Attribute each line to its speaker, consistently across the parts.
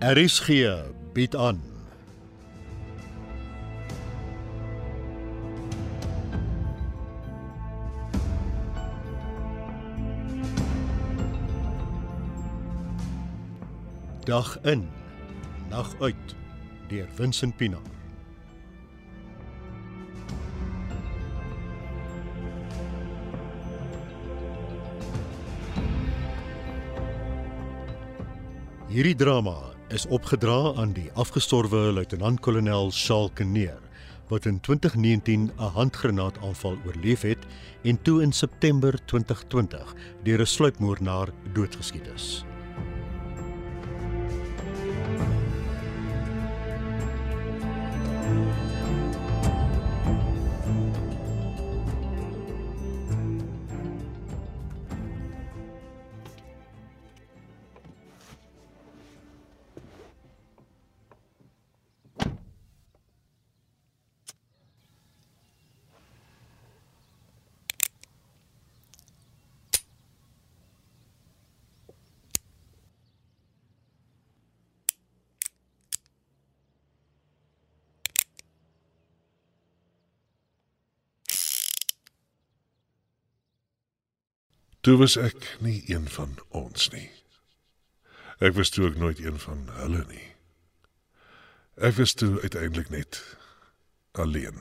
Speaker 1: RSG bied aan. Dag in, nag uit deur Vincent Pinaar. Hierdie drama is opgedra aan die afgestorwe luitenant-kolonel Charles Kneer wat in 2019 'n handgranaataanval oorleef het en toe in September 2020 deur 'n sluipmoordenaar doodgeskiet is.
Speaker 2: Toe was ek nie een van ons nie. Ek was toe ook nooit een van hulle nie. Ek was toe uiteindelik net alleen.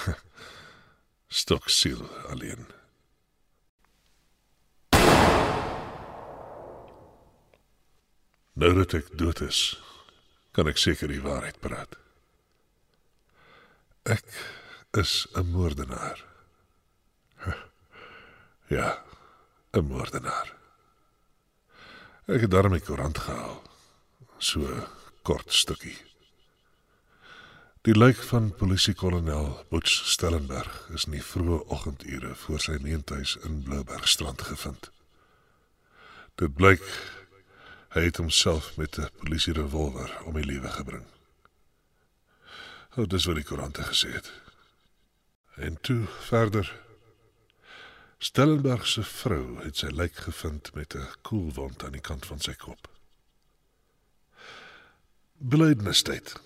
Speaker 2: Stoksiel alleen. Nou dat ek dood is, kan ek seker die waarheid praat. Ek is 'n moordenaar. Ja, 'n moordenaar. Ek het daarmee koerant gehaal. So 'n kort stukkie. Die lijk van polisiekolonel Butch Stellenberg is in die vroeë oggendure voor sy leenthuis in Bloubergstrand gevind. Dit blyk hy het homself met 'n polisierevolver om die lewe gebring. Oh, dis wat die koerante gesê het. En toe verder Stellenberg se vrou het sy lijk gevind met 'n koelwond aan die kant van sy kop. Beleidnestyd.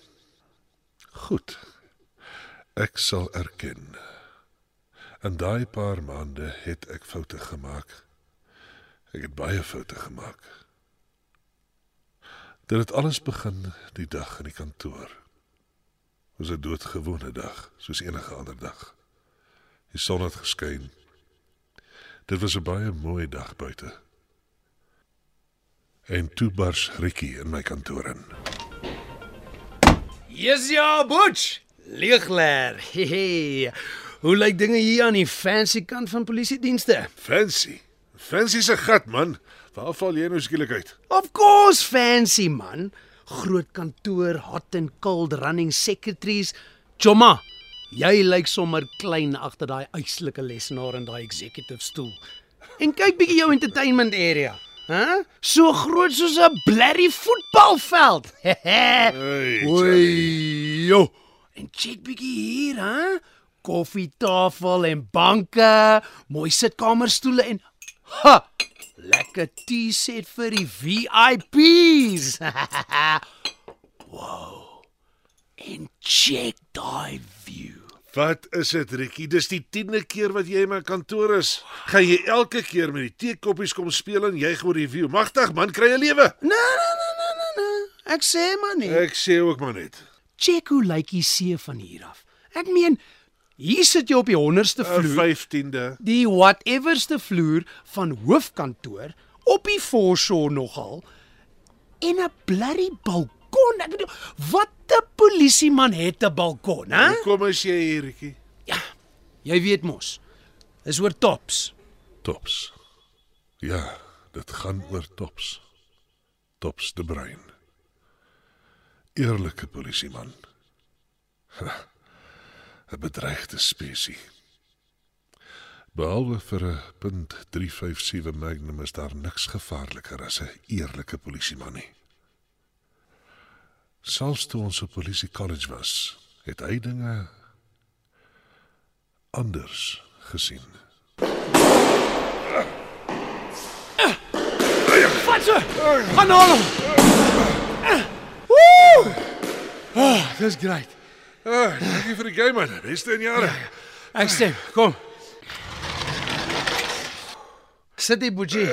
Speaker 2: Goed. Ek sal erken. In daai paar maande het ek foute gemaak. Ek het baie foute gemaak. Dit het alles begin die dag in die kantoor. Dit was 'n doodgewone dag, soos enige ander dag. Die son het geskyn Dit was 'n baie mooi dag buite. En toe bars Rikkie in my kantoor in.
Speaker 3: Yes ja, Butch. Leegler. Hehe. Hoe lyk dinge hier aan die fancy kant van polisiedienste?
Speaker 2: Fancy. Fancy se gat man. Waar val jy nou skielik uit?
Speaker 3: Of course fancy man. Groot kantoor, hot and cold running secretaries. Choma, jy lyk sommer klein agter daai uitslike lesenaar in daai executive stoel. En kyk bietjie jou entertainment area. Hæ? Huh? So groot soos 'n blerrie voetbalveld.
Speaker 2: Hey,
Speaker 3: Oei, jo. En check bietjie hier, hè? Koffietafel en banke, mooi sitkamerstoele en ha, lekker T-set vir die VIPs. wow. En check daai view.
Speaker 2: Wat is dit Rikkie? Dis die 10de keer wat jy in my kantoor is. Gaan jy elke keer met die teekoppies kom speel en jy oor die view. Magtig man, kry 'n lewe.
Speaker 3: Nee, nee, nee, nee, nee, nee. Ek sê maar net.
Speaker 2: Ek sê ook maar net.
Speaker 3: Check hoe lyk die see van hier af. Ek meen, hier sit jy op die 100ste
Speaker 2: 'n
Speaker 3: vloer.
Speaker 2: 15de.
Speaker 3: die whateverste vloer van hoofkantoor op die foreshore nogal en 'n blurry balkon. Ek bedoel, wat 'n polisieman het 'n balkon, hè?
Speaker 2: Kom as jy hier Rikkie.
Speaker 3: Ja. Jy weet mos. Is oor tops.
Speaker 2: Tops. Ja, dit gaan oor Tops. Tops de Bruin. Eerlike polisieman. Ha, 'n Bedreigde spesies. Behalwe vir 'n .357 Magnum is daar niks gevaarliker as 'n eerlike polisieman nie. Selfs toe ons op polisie college was, het hy dinge anders gesien.
Speaker 3: Vat so. Gaan haal hom. Ah, dis great.
Speaker 2: Ah, dankie vir die game man. Beste in jare.
Speaker 3: Ek sê, kom. Sit die boetie.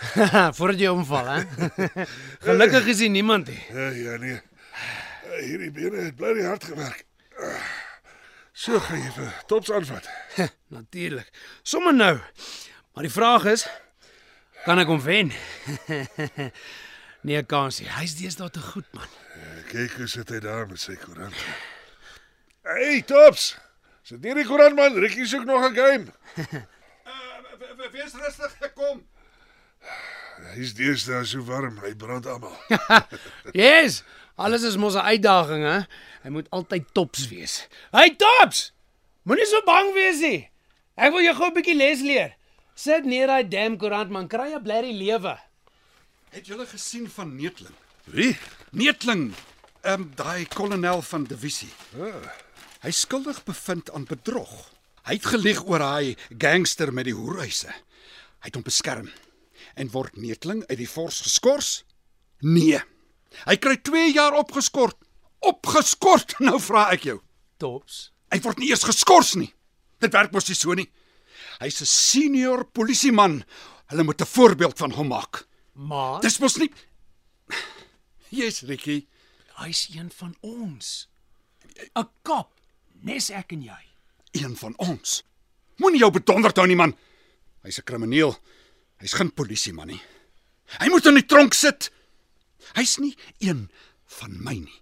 Speaker 3: Voordat jy omval, hè. Gelukkig is hier niemand nie.
Speaker 2: Ja, ja nee. Ah, Hierdie bene het bly hard gewerk. Ah, So gaan jy vir tops aanvat.
Speaker 3: Natuurlik. Sommige nou. Maar die vraag is, kan ek hom wen? nee, kansie. Hy's deesdae te goed, man.
Speaker 2: Kyk hoe sit hy daar met sy koerant. Hey, tops. Sit hier die koerant man, Rikkie soek nog 'n game.
Speaker 4: Eh, Wees rustig, ek kom.
Speaker 2: Hy's deesdae so warm, hy brand almal.
Speaker 3: Yes, alles is mos 'n uitdaging, hè. Hy moet altyd tops wees. Hey tops! Moenie so bang wees nie. Ek wil jou gou 'n bietjie les leer. Sit neer daai damn koerant man, kry 'n blerrie lewe.
Speaker 4: Het julle gesien van Neetling?
Speaker 2: Wie?
Speaker 4: Neetling, ehm um, daai kolonel van divisie. Hy is skuldig bevind aan bedrog. Hy het gelieg oor daai gangster met die hoerhuise. Hy het hom beskerm en word Neetling uit die force geskort? Nee. Hy kry 2 jaar opgeskort. Opgeskort, nou vra ek jou.
Speaker 3: Tops.
Speaker 4: Hy word nie eers geskort nie. Dit werk mos nie so nie. Hy's 'n senior polisieman. Hulle moet 'n voorbeeld van hom maak.
Speaker 3: Maar
Speaker 4: Dis mos nie Jesus, Rikkie.
Speaker 3: hy's een van ons. 'n Kap, nes ek en jy.
Speaker 4: een van ons. Moenie jou bedonderd hou nie man. Hy's 'n krimineel. Hy's geen polisieman nie. Hy moet in die tronk sit. Hy's nie een van my nie.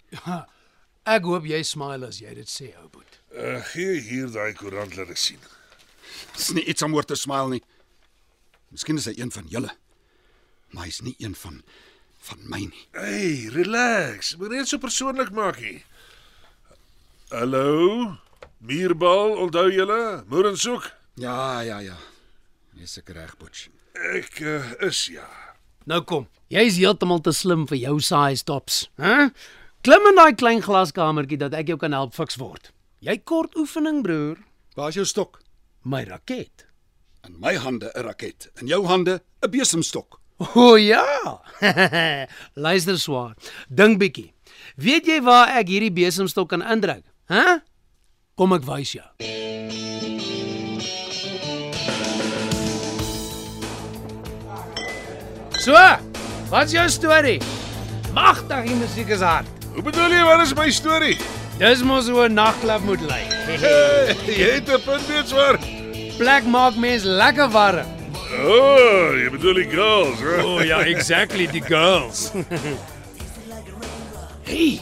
Speaker 3: Ek hoop jy smile as jy dit sê, ou boet.
Speaker 2: Uh, gee hier daai koerant laat ek sien.
Speaker 4: Dis nie iets om oor te smile nie. Miskien is hy een van julle. Maar hy's nie een van van my nie.
Speaker 2: Hey, relax. Moenie dit so persoonlik maak nie. Hallo? Muurbal, onthou julle? Moeren soek.
Speaker 4: Ja, ja, ja. Jy's seker reg, Butch.
Speaker 2: Ek uh, is ja.
Speaker 3: Nou kom. Jy's heeltemal te slim vir jou size tops, hè? Klim in daai klein glaskamertjie dat ek jou kan help fiks word. Jy kort oefening, broer.
Speaker 4: Waar's jou stok?
Speaker 3: My raket.
Speaker 4: In my hande 'n raket, in jou hande 'n besemstok.
Speaker 3: O oh, ja. Luister swaar. Dink bietjie. Weet jy waar ek hierdie besemstok kan indruk? Hæ? Kom ek wys jou. So, wat's jou storie? Magtig, die musiek is hard.
Speaker 2: Hoe bedoel jy wat is my storie?
Speaker 3: Dis mos hoe 'n nagklub moet lyk.
Speaker 2: Hey, jy het 'n punt reeds waar.
Speaker 3: Plek maak mens lekker warm.
Speaker 2: O, oh, jy bedoel die girls, hè?
Speaker 3: Oh ja, exactly die girls. hey,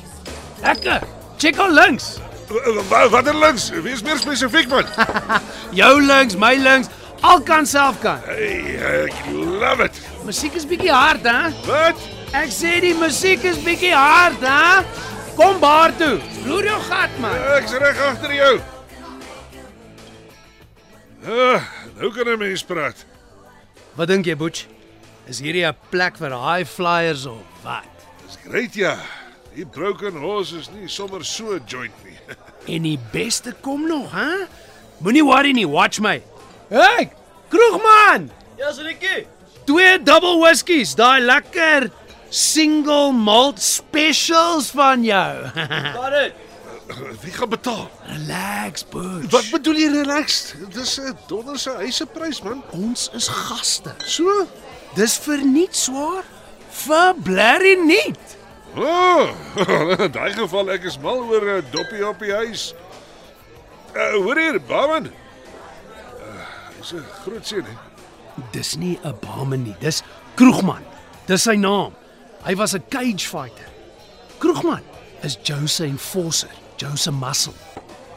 Speaker 3: lekker. Check al links.
Speaker 2: Eh, Wa- Watter links? Wees meer spesifiek man.
Speaker 3: Jou links, my links, alkant selfkant.
Speaker 2: Hey, ek love it.
Speaker 3: Musiek is bietjie hard, hè?
Speaker 2: Wat?
Speaker 3: Ek sê die musiek is bietjie hard, hè? Kom baar toe. Vloer jou gat, man.
Speaker 2: Ek's reg agter jou. Ah, nou kan 'n mens praat.
Speaker 3: Wat dink jy, Butch? Is hierdie 'n plek vir high flyers of wat?
Speaker 2: Dis great ja. Die broken horse is nie sommer so 'n joint nie.
Speaker 3: En die beste kom nog, hè? Moenie worry nie, watch my. Hey, kroegman.
Speaker 5: Ja, Sonikie.
Speaker 3: Twee double whiskies, daai lekker single malt specials van jou.
Speaker 5: Got it.
Speaker 2: Wie gaan betaal?
Speaker 3: Relax, Butch.
Speaker 2: Wat bedoel jy relaxed? Dis 'n donderse huiseprys man.
Speaker 3: ons is gaste.
Speaker 2: So?
Speaker 3: Dis verniet swaar. Vir blerrie niet.
Speaker 2: O, oh, in daai geval ek is mal oor 'n doppie op die huis. Uh, hoor hier, Baman. Uh, is 'n groot seun hè.
Speaker 3: Dis nie 'n bame nie, dis kroegman. Dis sy naam. Hy was 'n cage fighter. Kroegman is Jose Enforcer, Jose Muscle.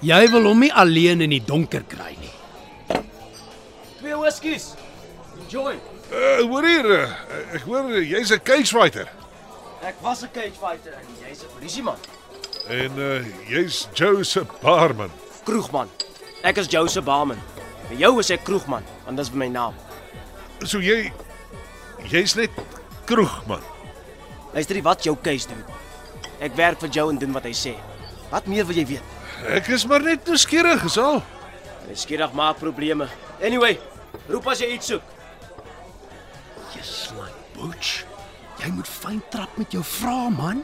Speaker 3: Jy wil hom nie alleen in die donker kry nie.
Speaker 5: Twee whiskies. Enjoy.
Speaker 2: Uh, hoor hier, uh, ek hoor uh, jy's 'n cage fighter
Speaker 5: Ek was 'n cage fighter en jy's 'n polisieman.
Speaker 2: en uh, jy's Joe se barman.
Speaker 5: Kroegman. Ek is Joseph Barman. Vir jou is ek kroegman, want dis my naam.
Speaker 2: So jy jy's net kroegman.
Speaker 5: Luister jy wat jou case doen? Ek werk vir jou en doen wat hy sê. Wat meer wil jy weet?
Speaker 2: Ek is maar net nuuskierig, is al.
Speaker 5: Hy skierig maak probleme. Anyway, roep as jy iets soek.
Speaker 3: Just like Butch. Jy moet fyn trap met jou vrae, man.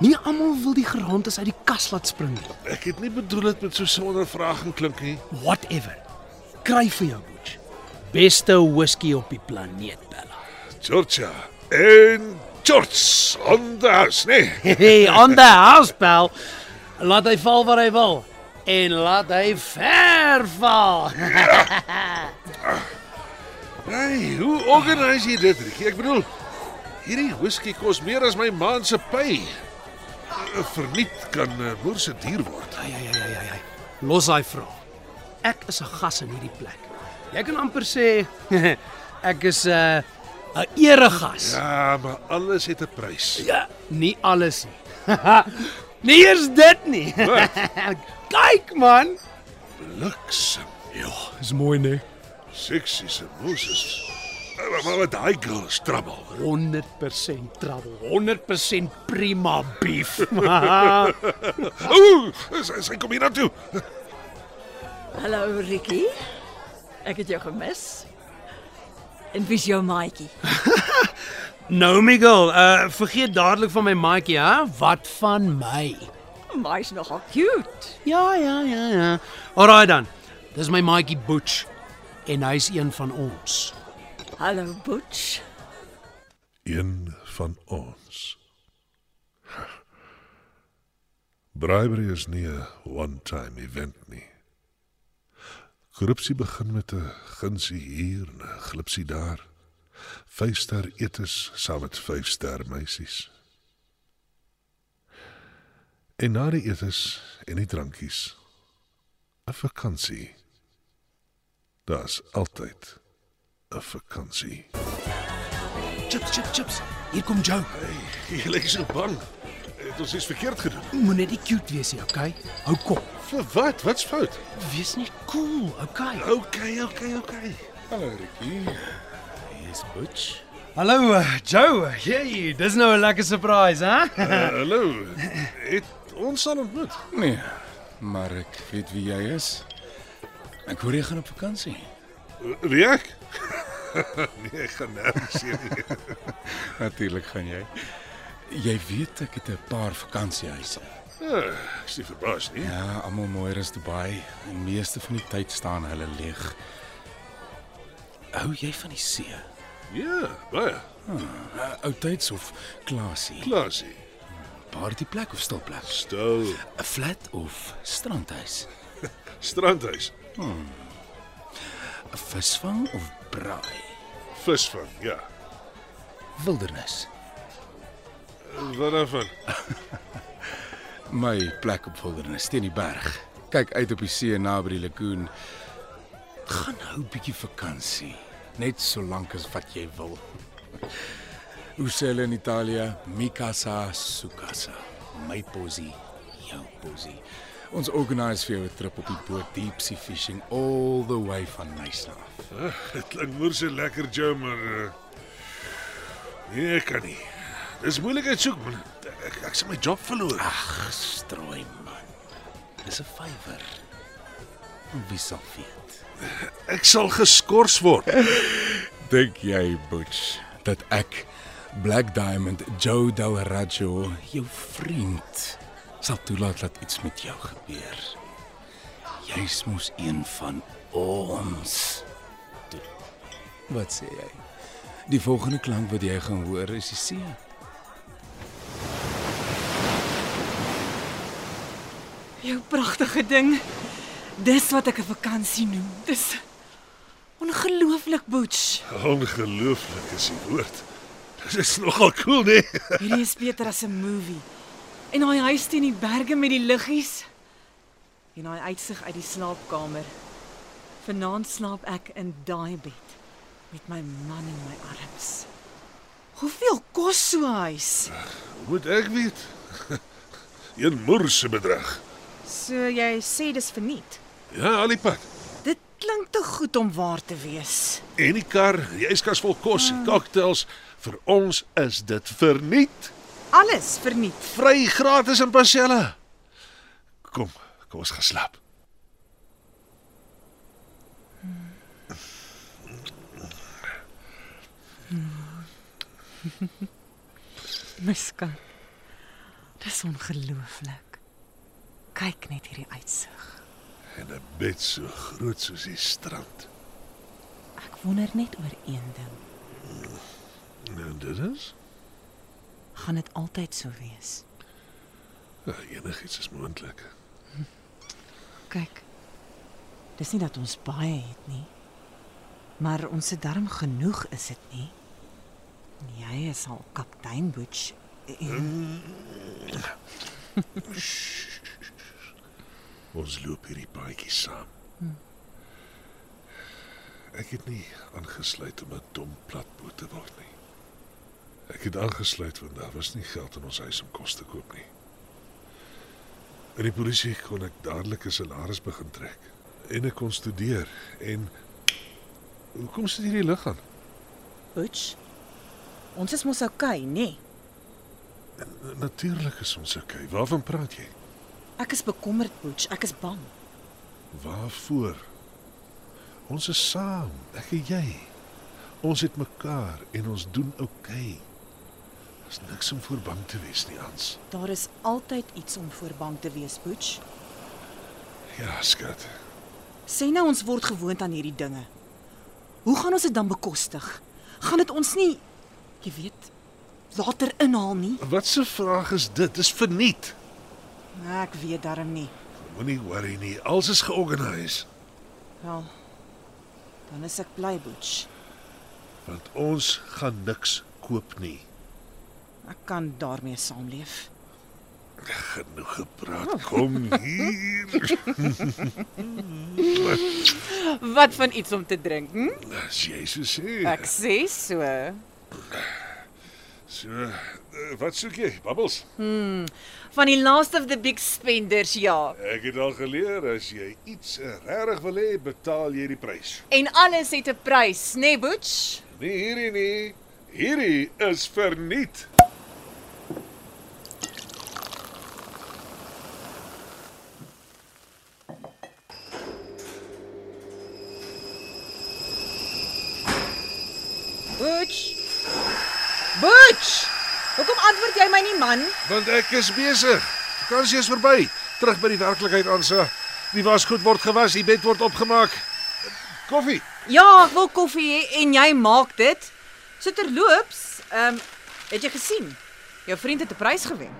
Speaker 3: Nie almal wil die geraamtes uit die kas laat spring nie.
Speaker 2: Ek het nie bedoel dit met so 'n ondervraging klink nie.
Speaker 3: Whatever. Kry vir jou Butch. Beste whisky op die planeet, Bella.
Speaker 2: Georgia en George on the house, nee.
Speaker 3: Hey, on the house, pal. Laat hy val waar hy wil en laat hy ver val.
Speaker 2: Hey, hoe organiseer jy dit, Rikkie? Ek bedoel, hierdie whisky kos meer as my man se pay. Eh, Verniet kan eh, boer se dier word.
Speaker 3: Ai ai ai ai ai. Los daai vrae. Ek is 'n gas in hierdie plek. Jy kan amper sê ek is 'n 'n eregas.
Speaker 2: Ja, maar alles het 'n prys.
Speaker 3: Ja, nie alles nie. nie eers dit nie. Kyk man.
Speaker 2: Bliksem. Ja,
Speaker 3: Dis mooi nee.
Speaker 2: sexy se Moses. Eh, Maar maar wat daai girl is trouble.
Speaker 3: 100% trouble. 100% prima beef.
Speaker 2: Ooh, sy, sy kom hier na toe.
Speaker 6: Hallo Rikkie. Ek het jou gemis. En wie's jou maatjie?
Speaker 3: nou Miguel, uh vergeet dadelik van my maatjie, hè? Wat van my?
Speaker 6: My's nogal cute.
Speaker 3: Ja, ja, ja, ja. Alraai dan. Dis my maatjie Butch en hy's een van ons.
Speaker 6: Hallo Butch.
Speaker 2: een van ons. Bribery is nie 'n one-time event nie. Korrupsie begin met 'n gunsie hier en 'n glipsie daar. Vyfster etes saam met vyfster meisies. En na die etes en die drankies 'n vakansie. Daar's altyd 'n vakansie.
Speaker 3: Chips, chips, chips. Hier kom Joe.
Speaker 2: Jy lyk so bang. Eh, Het ons iets verkeerd gedoen?
Speaker 3: Moenie die cute wees nie, okay? Hou kom.
Speaker 2: Vir wat? Wat's fout?
Speaker 3: Wees net cool, okay?
Speaker 2: OK, OK, OK.
Speaker 7: Hallo Rikkie.
Speaker 3: Hallo uh, Joe. Hey, dis nou 'n lekker surprise, hè?
Speaker 2: Hallo. Het ons al ontmoet?
Speaker 7: Nee, maar ek weet wie jy is. Ek hoor jy gaan op vakansie.
Speaker 2: Eh, Wie ek? nee, ek gaan nergens heen nie.
Speaker 7: Natuurlik gaan jy. Jy weet ek het 'n paar vakansiehuise.
Speaker 2: Ah, Ek is nie verbaas nie.
Speaker 7: Ja, almal mooier as Dubai. En meeste van die tyd staan hulle leeg. Hou jy van die see?
Speaker 2: Ja, baie.
Speaker 7: Uh, Oudtyds Eh, of klasie?
Speaker 2: Klasie.
Speaker 7: Party plek of stil plek?
Speaker 2: Stil.
Speaker 7: 'n Flat of strandhuis?
Speaker 2: Strandhuis.
Speaker 7: 'n Visvang of braai?
Speaker 2: Visvang, ja.
Speaker 7: Wildernis.
Speaker 2: Wat daarvan?
Speaker 7: My plek op wildernis teen die berg. Kyk uit op die see naby die lagoon. Gaan hou 'n bietjie vakansie, net so lank as wat jy wil. Hoe sê hulle in Italië? Mi casa, su casa. My posie, jou posie. Ons organiseer vir jou 'n trip op die boot deep sea fishing all the way van Nyasa.
Speaker 2: Dit Ah, klink moer se lekker jou, maar uh, nee, ek kan nie. Dis moeilikheid soek man. Ek ek sal my job verloor.
Speaker 7: Ag, strooi man. Dis 'n vyver. Wie sal weet?
Speaker 2: Ek sal geskort word.
Speaker 7: Dink jy, Butch, dat ek Black Diamond Joe Del Raggio, jou vriend, sal toelaat dat iets met jou gebeur? Jy's mos een van ons. Wat sê jy? Die volgende klank wat jy gaan hoor is die see.
Speaker 6: Jou pragtige ding. Dis wat ek 'n vakansie noem. Dis ongelooflik Butch.
Speaker 2: Ongelooflik is die woord. Dit is nogal cool, nee.
Speaker 6: Hierdie is beter as 'n movie. En daai huis teen die berge met die liggies en daai uitsig uit die slaapkamer. Vanaand slaap ek in daai bed met my man in my arms. Hoeveel kos so 'n huis?
Speaker 2: Moet ek weet? Een moerse bedrag.
Speaker 6: So jy sê dis verniet.
Speaker 2: Ja, al die pad.
Speaker 6: Dit klink te goed om waar te wees.
Speaker 2: En die kar, die yskas vol kos en cocktails. Vir ons is dit verniet.
Speaker 6: Alles verniet.
Speaker 2: Vry gratis in Pasella. Kom, kom ons gaan slaap.
Speaker 8: My skat. Dis ongelooflik. Kyk net hierdie uitsig.
Speaker 2: en 'n bed so groot soos die strand.
Speaker 8: Ek wonder net oor een ding.
Speaker 2: Nou dit is
Speaker 8: Gaan dit altyd so wees?
Speaker 2: ja, enigiets is moontlik.
Speaker 8: Kyk. Dis nie dat ons baie het nie. Maar ons se darm genoeg is dit nie. En Jy is al kaptein Butch. En
Speaker 2: Ons loop hierdie paadjie saam. Ek het nie aangesluit om 'n dom platboot te word nie. Ek het aangesluit want daar was nie geld in ons huis om kos te koop nie. In die polisie kon ek dadelik 'n salaris begin trek en ek kon studeer en hoekom sit hierdie lig aan?
Speaker 8: Butch. Ons is mos okay, nê? Nee.
Speaker 2: Natuurlik is ons okay. Waarvan praat jy?
Speaker 8: Ek is bekommerd Butch, ek is bang.
Speaker 2: Waarvoor? Ons is saam, ek en jy. Ons het mekaar en ons doen oukei. Okay. Daar's niks om voor bang te wees nie, Hans.
Speaker 8: Daar is altyd iets om voor bang te wees, Butch.
Speaker 2: Ja, skat.
Speaker 8: Sê nou ons word gewoond aan hierdie dinge. Hoe gaan ons dit dan bekostig? Gaan dit ons nie, jy weet, later inhaal nie?
Speaker 2: Wat 'n vraag is dit? Dis verniet.
Speaker 8: Nee, Ek weet darm nie.
Speaker 2: Moenie worry nie. Alles is georganiseer,
Speaker 8: Wel. Dan is ek bly, Butch.
Speaker 2: want ons gaan niks koop nie.
Speaker 8: Ek kan daarmee saamleef.
Speaker 2: Genoeg gepraat. Kom hier.
Speaker 9: Wat van iets om te drink? Hm?
Speaker 2: As jy so sê.
Speaker 9: Ek sê so.
Speaker 2: So, eh, wat soek jy? Bubbles.
Speaker 9: Van die last of the big spenders, ja.
Speaker 2: Ek het al geleer as jy iets eh, regtig wil hê, betaal jy die prys.
Speaker 9: En alles het 'n prys, né, nee, Butch?
Speaker 2: Nie hierdie nie. Hierdie is verniet.
Speaker 9: Butch. Butch. Hoekom antwoord jy my nie, man?
Speaker 2: Want ek is besig. Vakansie is verby. Terug by die werklikheid aansa. Die wasgoed word gewas, die bed word opgemaak. Koffie.
Speaker 9: Ja, ek wil koffie hê en jy maak dit. So terloops, ehm um, het jy gesien? Jou vriend het 'n prys gewen.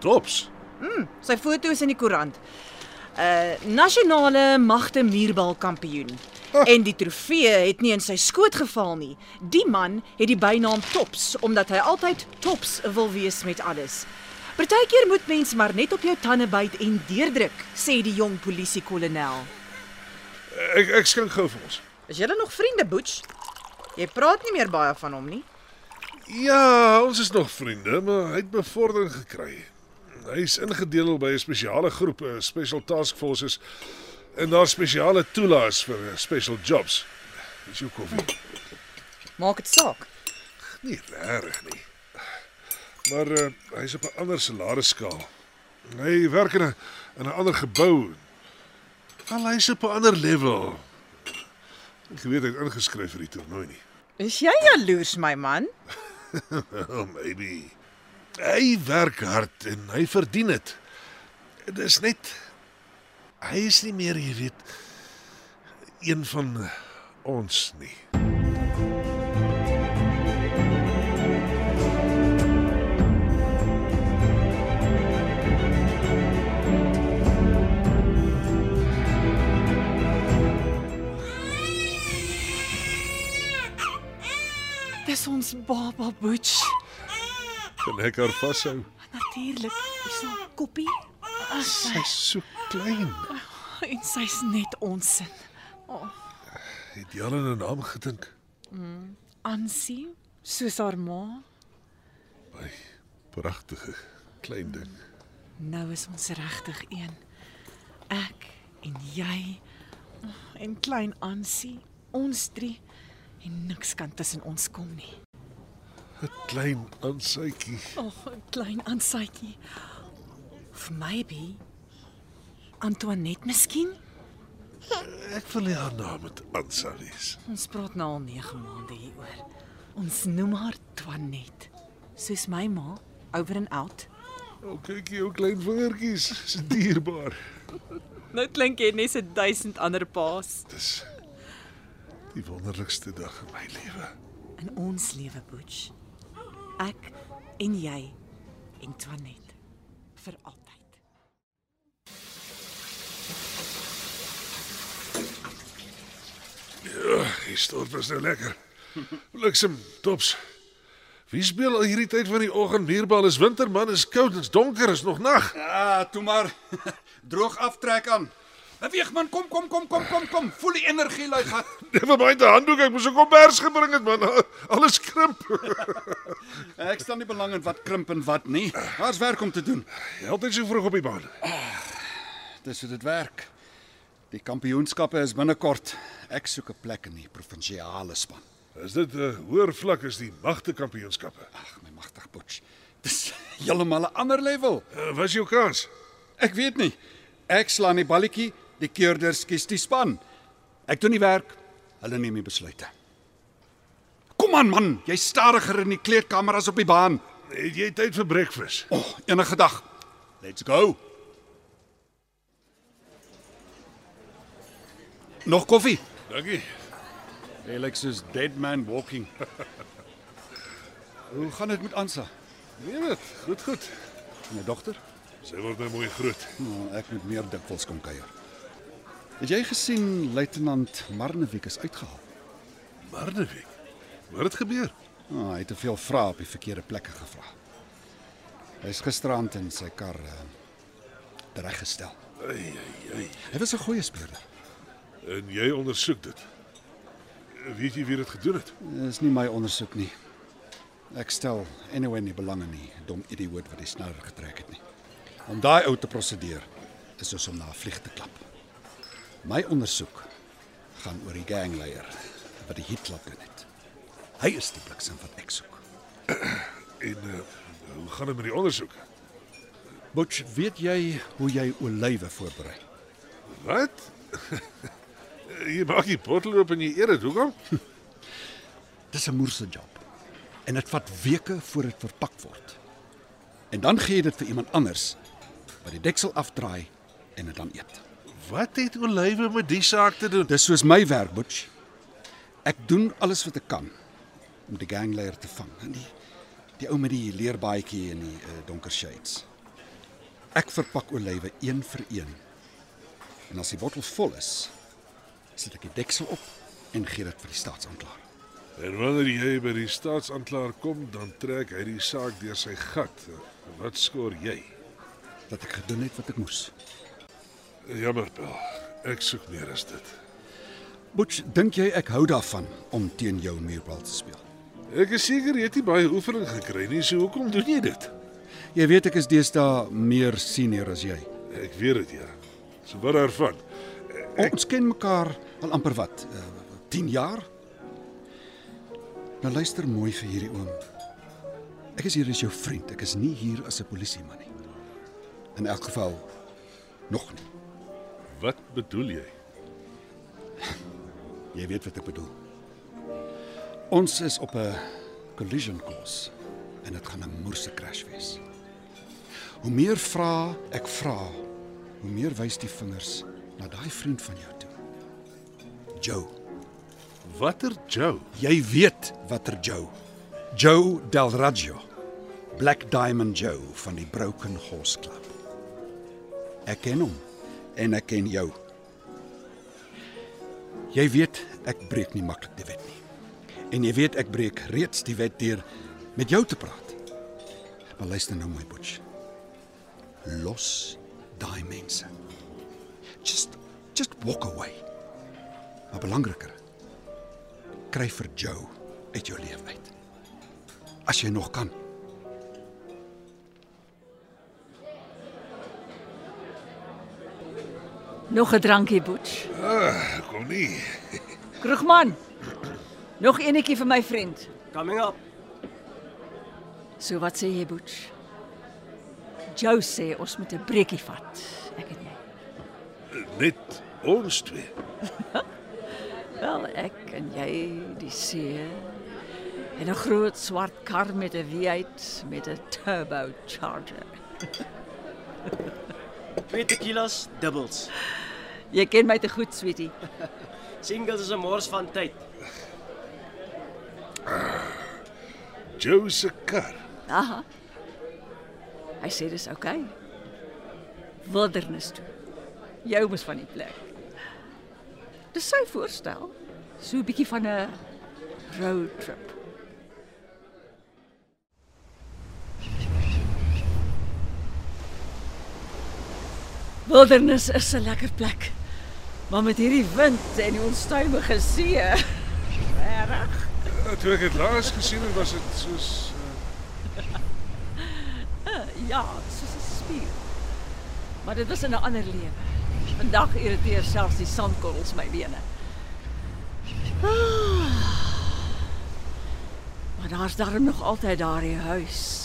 Speaker 2: Tops.
Speaker 9: Sy foto is in die koerant. 'n uh, Nasionale magte muurbal kampioen. En die trofee het nie in sy skoot geval nie. Die man het die bynaam Tops omdat hy altyd tops wil wees met alles. Partykeer moet mens maar net op jou tande byt en deurdruk, sê die jong polisiekolonel.
Speaker 2: Ek ek skink gou vir ons.
Speaker 9: Is julle nog vriende, Butch? Jy praat nie meer baie van hom nie.
Speaker 2: Ja, ons is nog vriende, maar hy het bevordering gekry. Hy is ingedeel by 'n spesiale groep, 'n special task forces en daar spesiale toelaas vir eh, special jobs. Dis jou koffie.
Speaker 9: Maak dit saak.
Speaker 2: Nie regtig nie. Maar uh, hy's op 'n ander salarisskaal. Hy werk in 'n in 'n ander gebou. Al hy's op 'n ander level. Ek weet hy het ingeskryf vir die toernooi nie.
Speaker 9: Is jy jaloers, my man?
Speaker 2: Well, maybe. Hy werk hard en hy verdien dit. Dit is net hy is nie meer, jy weet, een van ons nie.
Speaker 8: Dis ons baba Butch.
Speaker 2: Kan ek haar vashou?
Speaker 8: Natuurlik, hy's so koppie
Speaker 2: Sy's so klein.
Speaker 8: en sy's net ons sin.
Speaker 2: Het jy al aan 'n naam gedink?
Speaker 8: Mm, Ansie, soos haar ma,
Speaker 2: My pragtige klein ding.
Speaker 8: nou is ons regtig een. Ek en jy en klein Ansie, ons drie en niks kan tussen ons kom nie.
Speaker 2: 'n Klein aansuitjie.
Speaker 8: Oh, 'n klein aansaaitjie. Of maybe Antoinette miskien?
Speaker 2: Ek wil nie haar naam met Ansa wees.
Speaker 8: Ons praat nou al 9 maande hieroor. Ons noem haar Toinette. soos my ma, over and out.
Speaker 2: O, kyk jou klein vingertjies, is dierbaar.
Speaker 8: Nou klink jy net so duisend ander paas
Speaker 2: Dis die wonderlikste dag in my lewe.
Speaker 8: in ons lewe, Butch. Ek en jy en Toinette vir altyd.
Speaker 2: Die storm was nou lekker. Bliksem, tops. Wie speel al hierdie tyd van die oggend hierbal? Is winter man, is koud, is donker, is nog nag.
Speaker 4: Ah, toe maar. Droog aftrek aan. Beweeg man, kom kom kom kom kom kom. Voel die energie lui gat.
Speaker 2: Never mind die handdoek, ek moes 'n kombers gebring het man. Alles krimp.
Speaker 4: Ek staan nie belang in wat krimp en wat nie. Daar's werk om te doen.
Speaker 2: Jy altyd so vroeg op die baan.
Speaker 4: Dis hoe dit werk. Die kampioenskappe is binnekort. Ek soek 'n plek in die provinsiale span.
Speaker 2: Is dit 'n hoër vlak as die magte kampioenskappe?
Speaker 4: Ag, my magtig Potch. Dis heeltemal 'n ander level.
Speaker 2: Uh, was jou kans?
Speaker 4: Ek weet nie. Ek slaan die balletjie, die keurders kies die span. Ek doen die werk. Hulle neem die besluite. Kom aan man, jy stadiger in die kleedkamer as op die baan.
Speaker 2: Het jy tyd vir breakfast?
Speaker 4: O, oh, enige dag. Let's go. Nog koffie?
Speaker 2: Dankie.
Speaker 4: Jy lyk soos dead man walking. Hoe gaan dit met Ansa?
Speaker 2: Nee, dit goed goed.
Speaker 4: My dogter?
Speaker 2: Sy word nou mooi groot.
Speaker 4: Nou, ek moet meer dikwels kom kuier. Het jy gesien luitenant Marnevik is uitgehaal?
Speaker 2: Marnevik. Wat het gebeur?
Speaker 4: Ah, hy het te veel vrae op die verkeerde plekke gevra. Hy's gisterand in sy kar uh, reggestel.
Speaker 2: Ai ai ai.
Speaker 4: Hy was 'n goeie speurder.
Speaker 2: En jy ondersoek dit. Weet jy wie dit gedoen het?
Speaker 4: Dis nie my ondersoek nie. Ek stel anyway nie belang in die dom idioot wat die snor getrek het nie. Om daai ou te prosedeer is soos om na 'n vlieg te klap. My ondersoek gaan oor die gangleier wat die hit laat doen het. Hy is die bliksem wat ek soek.
Speaker 2: En uh, hoe gaan dit met die ondersoek?
Speaker 4: Butch, weet jy hoe jy olywe voorberei?
Speaker 2: Wat? jy maak die bottel oop en jy eet dit. Hoekom?
Speaker 4: Dis 'n moerse job. En dit vat weke voor dit verpak word. En dan gee jy dit vir iemand anders wat die deksel afdraai en dit dan eet.
Speaker 2: Wat het olywe met die saak te doen?
Speaker 4: Dis soos my werk, Butch. Ek doen alles wat ek kan om die gangleier te vang. En die die ou met die leerbaadjie en die uh, donker shades. Ek verpak olywe een vir een. En as die bottel vol is, sit ek die deksel op en gee dit vir die staatsaanklaer.
Speaker 2: En wanneer jy by die staatsaanklaer kom, dan trek hy die saak deur sy gat. Wat skoor jy?
Speaker 4: Dat ek gedoen het wat ek moes.
Speaker 2: Jammer, Bill. Ek soek meer as dit.
Speaker 4: Butch, dink jy ek hou daarvan om teen jou muurbal te speel?
Speaker 2: Ek is seker jy het nie baie oefening gekry nie, so hoekom doen jy dit?
Speaker 4: Jy weet ek is deesdae meer senior as jy.
Speaker 2: Ek weet dit ja. So wat daarvan?
Speaker 4: Ons ken mekaar al amper wat, eh, 10 jaar. Nou luister mooi vir hierdie oom. Ek is hier as jou vriend. Ek is nie hier as 'n polisieman nie. In elk geval nog nie.
Speaker 2: Wat bedoel jy?
Speaker 4: Jy weet wat ek bedoel. Ons is op 'n collision course en dit gaan 'n moerse crash wees. Hoe meer vra ek vra, hoe meer wys die vingers na daai vriend van jou toe. Joe
Speaker 2: Watter Joe?
Speaker 4: Jy weet watter Joe. Joe Del Raggio. Black Diamond Joe van die Broken Horse Club. Ek ken hom en ek ken jou. Jy weet ek breek nie maklik die wet nie. En jy weet ek breek reeds die wet deur met jou te praat. Maar luister nou my butch. Los daai mense. Just just walk away. Maar belangriker, kry vir jou uit jou lewe uit. As jy nog kan.
Speaker 9: Nog 'n drankie, Butch.
Speaker 2: Kom nie.
Speaker 9: Kroegman. Nog enetjie vir my vriend.
Speaker 5: Coming up.
Speaker 9: So wat sê jy, Butch? Jou sê ons moet 'n breekie vat. Ek en jy.
Speaker 2: Net ons twee.
Speaker 9: Wel, ek en jy, die see,
Speaker 6: En 'n groot swart kar met 'n V8 met 'n turbo charger.
Speaker 5: Twee tequilas, doubles.
Speaker 6: Jy ken my te goed, sweetie.
Speaker 5: Singles is 'n mors van tyd.
Speaker 2: Joe se kar.
Speaker 6: Aha. Hy sê dis oukei. Okay. Wildernis toe. Jou mos van die plek. Dis sy voorstel. So 'n bietjie van 'n road trip. Wildernis is 'n lekker plek. Maar met hierdie wind en die onstuimige see, reg.
Speaker 2: Eh, Toe ek dit laas gesien het, was dit soos
Speaker 6: Ja, soos 'n spier. Maar dit was in 'n ander lewe. Vandag irriteer selfs die sandkorrels my bene. Ah, maar daar's daarom nog altyd daardie huis.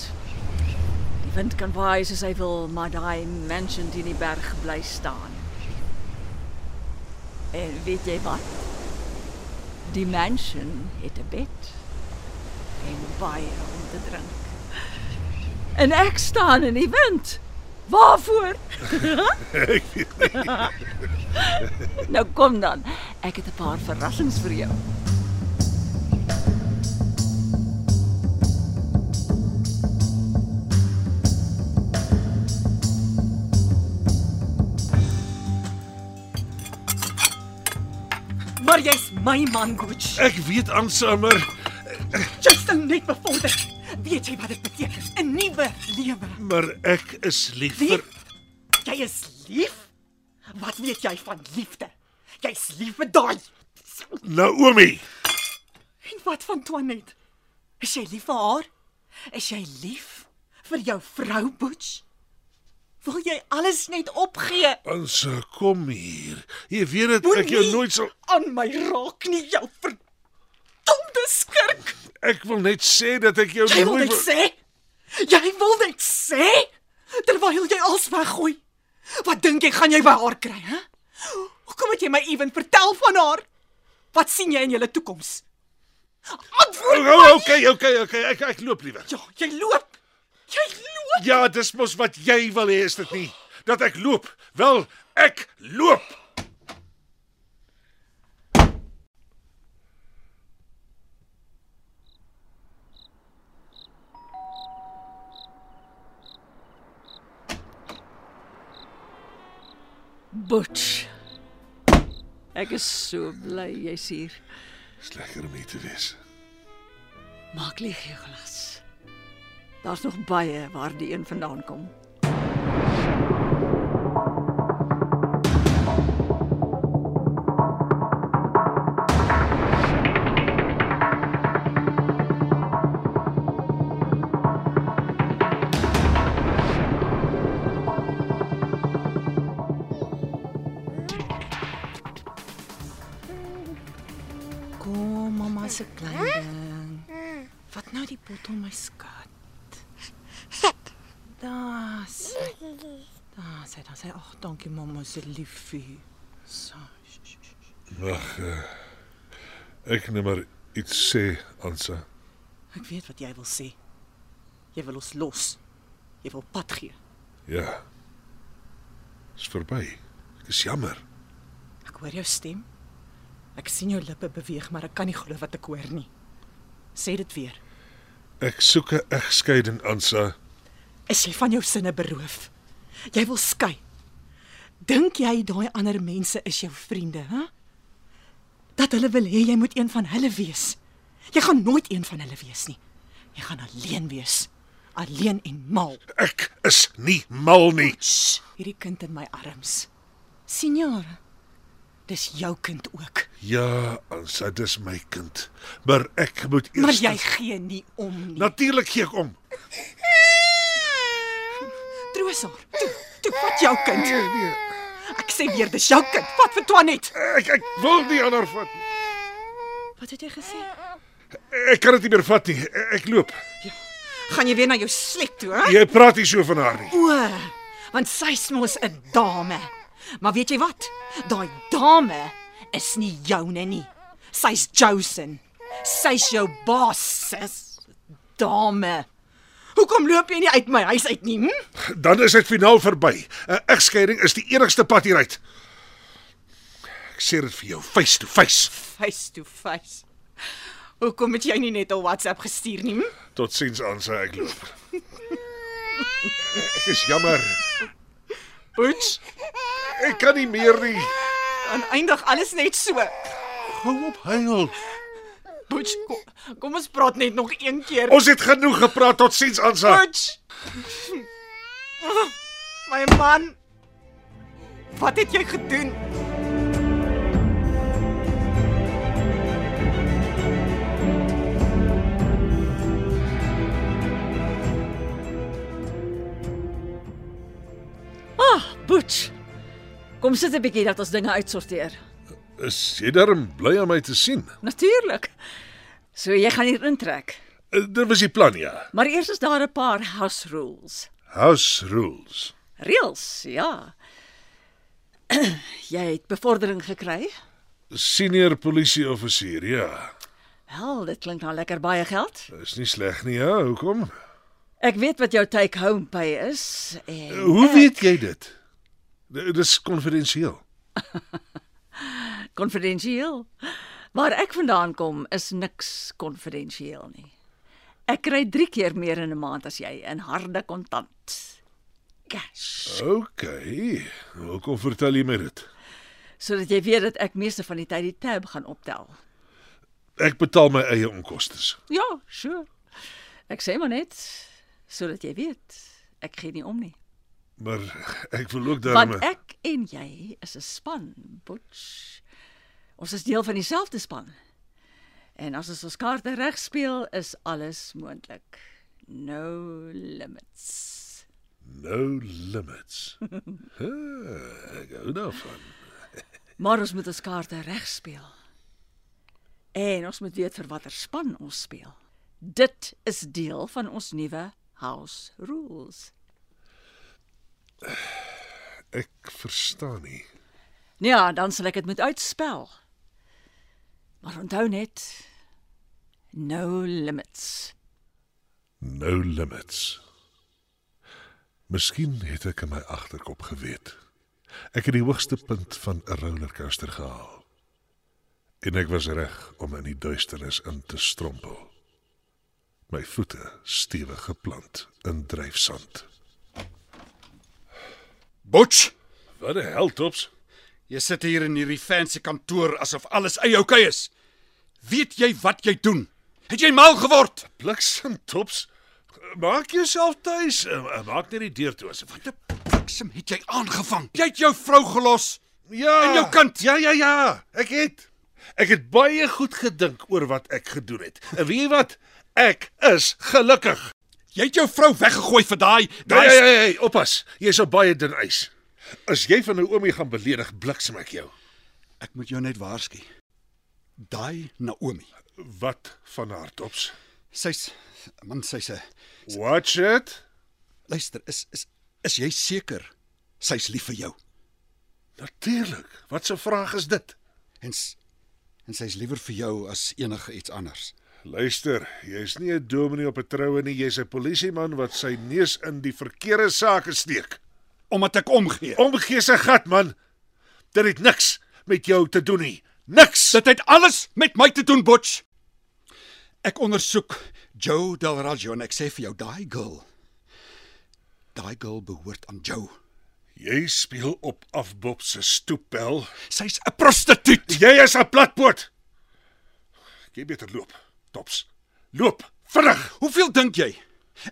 Speaker 6: Die wind kan waai soos hy wil, maar daai mansion die in die berg bly staan. En weet jy wat? Die mansion het 'n bed en baie om te drink. En ek staan in die wind. Waarvoor? nou kom dan. Ek het 'n paar verrassings vir jou.
Speaker 9: Maar jy's my man, Gooch.
Speaker 2: ek weet aansamer.
Speaker 9: Justin net bevorder. Weet jy wat dit beteken? 'n Nuwe lewe.
Speaker 2: Maar ek is lief vir
Speaker 9: Jy is lief? Wat weet jy van liefde? Jy's lief vir daai.
Speaker 2: Naomi.
Speaker 9: En wat van Toinette? Is jy lief vir haar? Is jy lief vir jou vrou Butch? Wil jy alles net opgee?
Speaker 2: Ons kom hier. Jy weet dit ek jou
Speaker 9: Moenie
Speaker 2: nooit sal
Speaker 9: aan my raak nie, jou verdomde skurk.
Speaker 2: ek wil net sê dat ek jou
Speaker 9: Jy wil
Speaker 2: nooit wil-
Speaker 9: dit sê? Jy wil dit sê? Terwyl jy alles weggooi. Wat dink jy gaan jy by haar kry, hè? Hoekom het jy my ewen vertel van haar? Wat sien jy in jou toekoms? Antwoord
Speaker 2: O,
Speaker 9: my.
Speaker 2: o, Oh, okay, okay, okay. Ek ek loop liewer.
Speaker 9: Ja, jy loop. Jy loop.
Speaker 2: Ja, dis mos wat jy wil hê, is dit nie? Dat ek loop. Wel, ek loop.
Speaker 6: Butch. Ek is so bly jy's hier.
Speaker 2: Dis lekker om hier te wees.
Speaker 6: Maak leeg jou glas. Daar's nog baie waar die een vandaan kom.
Speaker 8: Kom mamma se klein. Wat nou die bottel my skat. Das. Das, hy dan sê, "Ag, dankie mamma se liefie." So. sh- sh- sh- sh.
Speaker 2: Wag. eh, Ek net maar iets sê, Ansa.
Speaker 8: Ek weet wat jy wil sê. Jy wil ons los. Jy wil pad gee.
Speaker 2: Ja. Dis verby. Ek is jammer.
Speaker 8: Ek hoor jou stem. Ek sien jou lippe beweeg, maar ek kan nie glo wat ek hoor nie. Sê dit weer.
Speaker 2: Ek soek 'n egskeiding, Ansa.
Speaker 8: Is jy van jou sinne beroof? Jy wil skei. Dink jy daai ander mense is jou vriende, hè? Dat hulle wil hê jy moet een van hulle wees. Jy gaan nooit een van hulle wees nie. Jy gaan alleen wees. Alleen en mal.
Speaker 2: Ek is nie mal nie.
Speaker 8: Shh, hierdie kind in my arms. Signor, dis jou kind ook.
Speaker 2: Ja, Ansa, dis my kind. Maar ek moet eers
Speaker 8: Maar jy gee nie om nie.
Speaker 2: Natuurlik gee ek om.
Speaker 8: Troos haar. Toe, toe vat jou kind. Ek sê weer dis jou kind. Vat vir Toinette.
Speaker 2: Ek ek wil nie aan haar vat nie.
Speaker 8: Wat het jy gesê?
Speaker 2: Ek kan dit nie meer vat nie. Ek loop.
Speaker 8: Gaan jy weer na jou slek toe, hè?
Speaker 2: Jy praat nie so van haar nie.
Speaker 8: O, want sy's mos 'n dame. Maar weet jy wat? Daai dame is nie joune nie. Sy's Josen.
Speaker 9: Sy's jou baas, sis. Dame. Hoekom loop jy nie uit my huis uit nie? Hm?
Speaker 2: Dan is dit finaal verby. 'n Egskeiding is die enigste pad hieruit. Ek sê dit vir jou, face to face.
Speaker 9: Face to face. Hoekom het jy nie net 'n WhatsApp gestuur nie? Hm?
Speaker 2: Totsiens aan sy ek loop. Ek is jammer.
Speaker 9: Boets.
Speaker 2: Ek kan nie meer nie.
Speaker 9: Dan eindig alles net so.
Speaker 2: Hou op huil.
Speaker 9: Boets, kom, kom ons praat net nog een keer.
Speaker 2: Ons het genoeg gepraat. Totsiens aan sy.
Speaker 9: Boets. My man. Wat het jy gedoen?
Speaker 6: Butch. Kom sit 'n bietjie dat ons dinge uitsorteer.
Speaker 2: Is jy darm bly om my te sien?
Speaker 6: Natuurlik. So jy gaan hier intrek.
Speaker 2: Eh, Dit was die plan ja.
Speaker 6: Maar eers is daar 'n paar house rules.
Speaker 2: House rules.
Speaker 6: Reëls, ja. jy het bevordering gekry?
Speaker 2: Senior polisie offisier, ja.
Speaker 6: Wel, dit klink nou lekker baie geld.
Speaker 2: Is nie sleg nie, ja. Hoekom?
Speaker 6: Ek weet wat jou take home pay is en
Speaker 2: Hoe weet jy dit? D- Dis konfidensieel.
Speaker 6: konfidensieel. Waar ek vandaan kom is niks konfidensieel nie. Ek kry 3 keer meer in 'n maand as jy in harde kontant. Cash.
Speaker 2: OK. Hoekom vertel jy my dit?
Speaker 6: Sodat jy weet dat ek meeste van die tyd die tab gaan optel.
Speaker 2: Ek betaal my eie onkoste.
Speaker 6: Ja, sure. Ek sê maar net sodat jy weet, ek gee nie om nie.
Speaker 2: Maar ek wil ook
Speaker 6: Want
Speaker 2: daarmee
Speaker 6: ek en jy is 'n span, Butch. Ons is deel van dieselfde span. En as ons ons kaarte reg speel, is alles moontlik. No limits.
Speaker 2: no limits. Ah, ek hou daarvan.
Speaker 6: Maar ons moet ons kaarte reg speel. En ons moet weet vir watter span ons speel. Dit is deel van ons nuwe house rules.
Speaker 2: Ek verstaan nie.
Speaker 6: Ja, dan sal ek dit moet uitspel. Maar onthou net no limits.
Speaker 2: No limits. Miskien het ek in my agterkop geweet. Ek het die hoogste punt van 'n rollercoaster gehaal. En ek was reg om in die duisternis in te strompel. My voete stewig geplant in dryfsand.
Speaker 4: Butch,
Speaker 2: Wat 'n hel tops.
Speaker 4: jy sit hier in hierdie fancy kantoor asof alles eie oukei is. Weet jy wat jy doen? Het jy mal geword?
Speaker 2: Bliksem tops. Maak jouself tuis. Maak net die deur toe asseblief.
Speaker 4: Die bliksem het jy aangevang. Jy het jou vrou gelos.
Speaker 2: Ja.
Speaker 4: En jou kind?
Speaker 2: Ja, ja, ja. Ek het ek het baie goed gedink oor wat ek gedoen het. En weet jy wat? Ek is gelukkig.
Speaker 4: Jy het jou vrou weggegooi vir daai
Speaker 2: Hey,
Speaker 4: daai
Speaker 2: hey, hey, hey, oppas. Jy's op baie dun ys. As jy van Naomi gaan beledig, bliksem ek jou.
Speaker 4: Ek moet jou net waarsku. Daai Naomi.
Speaker 2: Wat van haar tops?
Speaker 4: Sy's man, sy's 'n
Speaker 2: Watch it.
Speaker 4: luister, is is is jy seker sy's lief vir jou?
Speaker 2: Natuurlik. Wat 'n vraag is dit?
Speaker 4: En s- en sy's liewer vir jou as enige iets anders.
Speaker 2: Luister, jy's nie 'n dominee op 'n troue nie, jy's 'n polisieman wat sy neus in die verkeerde sake steek.
Speaker 4: Omdat ek omgee.
Speaker 2: Omgee se gat man. Dit het niks met jou te doen nie. Niks.
Speaker 4: Dit het alles met my te doen, Butch. Ek ondersoek Joe Del Raggio en ek sê vir jou, daai girl. Daai girl behoort aan Joe.
Speaker 2: Jy speel op afbob se stoeppel.
Speaker 4: Sy's 'n prostituut.
Speaker 2: Jy is 'n platpoot. Jy beter loop. Tops. Loop vinnig.
Speaker 4: Hoeveel dink jy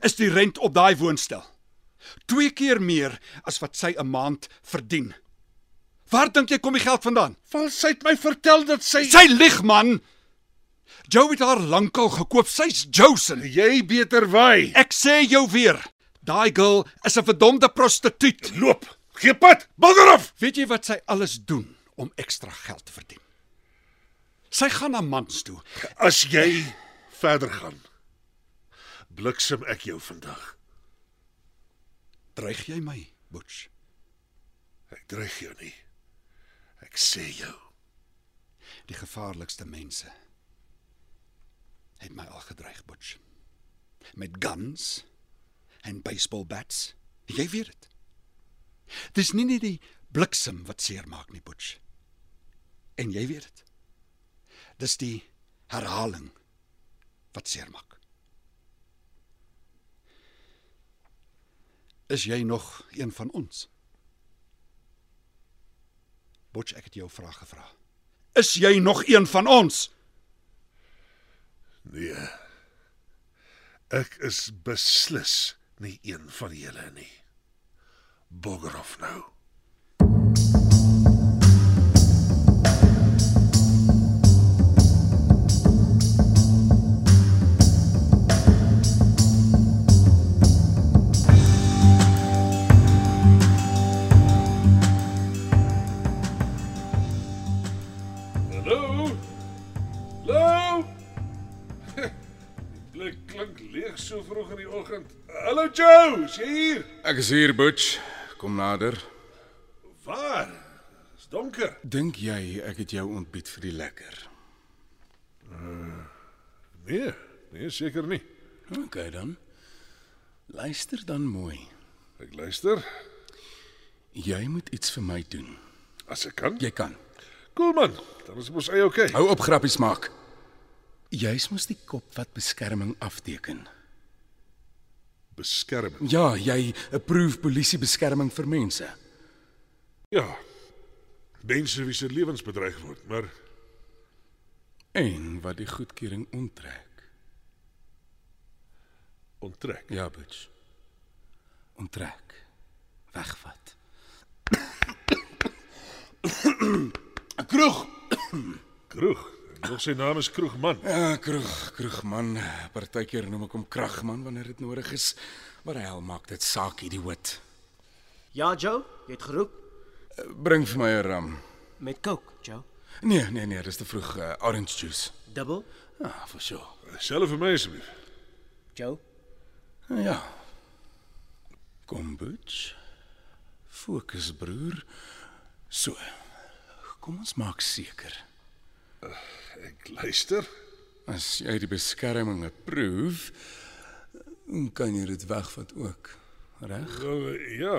Speaker 4: is die rent op daai woonstel? Twee keer meer as wat sy 'n maand verdien. Waar dink jy kom die geld vandaan?
Speaker 2: Val sy het my vertel dat sy
Speaker 4: Sy lieg man. Joe het haar lankal gekoop. Sy's Josen.
Speaker 2: jy beter wy.
Speaker 4: Ek sê jou weer, daai girl is 'n verdomde prostituut.
Speaker 2: Loop. Gee pad. Bulderhof.
Speaker 4: Weet jy wat sy alles doen om ekstra geld te verdien? Sy gaan na mans toe.
Speaker 2: As jy verder gaan. Bliksem ek jou vandag.
Speaker 4: Dreig jy my, Butch?
Speaker 2: Ek dreig jou nie. Ek sê jou.
Speaker 4: Die gevaarlikste mense Hy het my al gedreig, Butch. Met guns en baseball bats. Jy weet dit. Dis nie net die bliksem wat seermaak nie, Butch. En jy weet dit. Dis die herhaling wat seermaak. Is jy nog een van ons? Butch, ek het jou 'n vraag gevra. Is jy nog een van ons?
Speaker 2: Nee. Ek is beslis nie een van julle nie. Boggerhof nou. Hallo. Hallo. Dit klink leeg so vroeg in die oggend. Hallo Joe, is jy hier?
Speaker 7: Ek is hier, Butch. Kom nader.
Speaker 2: Waar? Dis donker.
Speaker 7: Dink jy ek het jou ontbied vir die lekker?
Speaker 2: Eh, Nee, nee seker nie.
Speaker 7: OK dan. Luister dan mooi.
Speaker 2: Ek luister
Speaker 7: Jy moet iets vir my doen.
Speaker 2: as ek kan.
Speaker 7: Jy kan.
Speaker 2: Cool man, dan is mos eie okay.
Speaker 7: Hou op grappies maak. Jy's mos die kop wat beskerming afteken.
Speaker 2: Beskerming.
Speaker 7: Ja, jy approve polisie beskerming vir mense.
Speaker 2: Ja. Mense wie se lewens bedreig word, maar
Speaker 7: En wat die goedkeuring onttrek.
Speaker 2: onttrek.
Speaker 7: Ja, Butch. Onttrek. Wegvat. 'n Kroeg.
Speaker 2: Kroeg. En Nog sy naam is Kroegman.
Speaker 7: Ja, kroeg, kroegman. Partykeer noem ek hom kragman wanneer dit nodig is. Maar hel maak dit saak, idioot.
Speaker 5: Ja, Joe, jy het geroep
Speaker 7: Bring vir my 'n ram.
Speaker 5: met Coke, Joe.
Speaker 7: Nee, nee, nee, dis te vroeg. Uh, orange juice.
Speaker 5: Dubbel,
Speaker 7: Ah, for sure.
Speaker 2: Selfe vir my asseblief.
Speaker 5: Joe.
Speaker 7: Nou Ja. Kom, Butch. Fokus, broer. So. Kom ons maak seker.
Speaker 2: Ek luister.
Speaker 7: As jy die beskerming approve, kan jy dit wegvat ook. Reg?
Speaker 2: Wel, ja,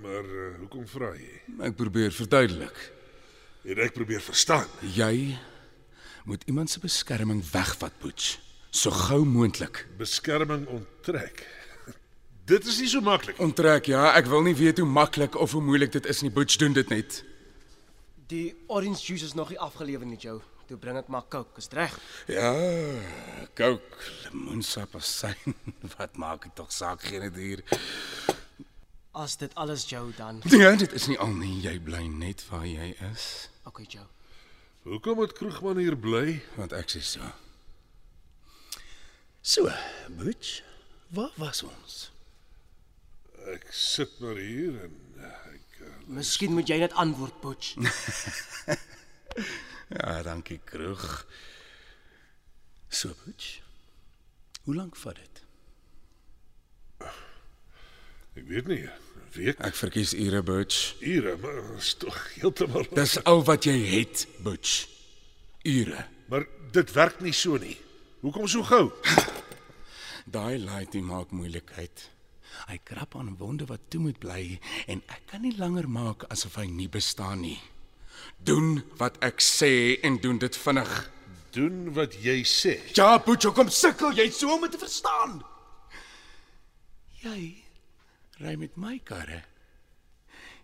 Speaker 2: maar eh, hoekom vra jy?
Speaker 7: Ek probeer verduidelik.
Speaker 2: En ek probeer verstaan.
Speaker 7: Jy moet iemand se beskerming wegvat, Butch, so gou moontlik.
Speaker 2: Beskerming onttrek. Dit is nie so maklik.
Speaker 7: Onttrek, ja, ek wil nie weet hoe maklik of hoe moeilik dit is nie, Butch, doen dit net.
Speaker 5: Die orange juice is nog nie afgelewer nie, Joe. Toe bring dit maar Coke, is dit reg?
Speaker 7: Ja, kook, lemoensap of syn, wat maak dit tog saak geen dit hier.
Speaker 5: As dit alles Joe dan.
Speaker 7: Ja, dit is nie al nie, jy bly net waar jy is,
Speaker 5: Okay, Joe.
Speaker 2: Hoekom moet Kroegman hier bly?
Speaker 7: want ek sê so. So, Butch, waar was ons?
Speaker 2: Ek sit maar hier en eh, ek eh,
Speaker 5: Miskien moet jy net antwoord, Butch.
Speaker 7: Ja, dankie, Krug. So, Butch. Hoe lank vat dit?
Speaker 2: ek weet nie, 'n week,
Speaker 7: Ek verkies ure, Butch.
Speaker 2: ure, maar dit is tog heeltemal.
Speaker 7: Dis al wat jy het, Butch. Ure.
Speaker 2: Maar dit werk nie so nie. Hoekom so gou?
Speaker 7: Daai laaitie maak moeilikheid. Hy krap aan wonde wat toe moet bly en ek kan nie langer maak asof hy nie bestaan nie. Doen wat ek sê en doen dit vinnig.
Speaker 2: Doen wat jy sê.
Speaker 7: Ja, Butch, hoekom sukkel jy so om dit te verstaan? Jy ry met my karre.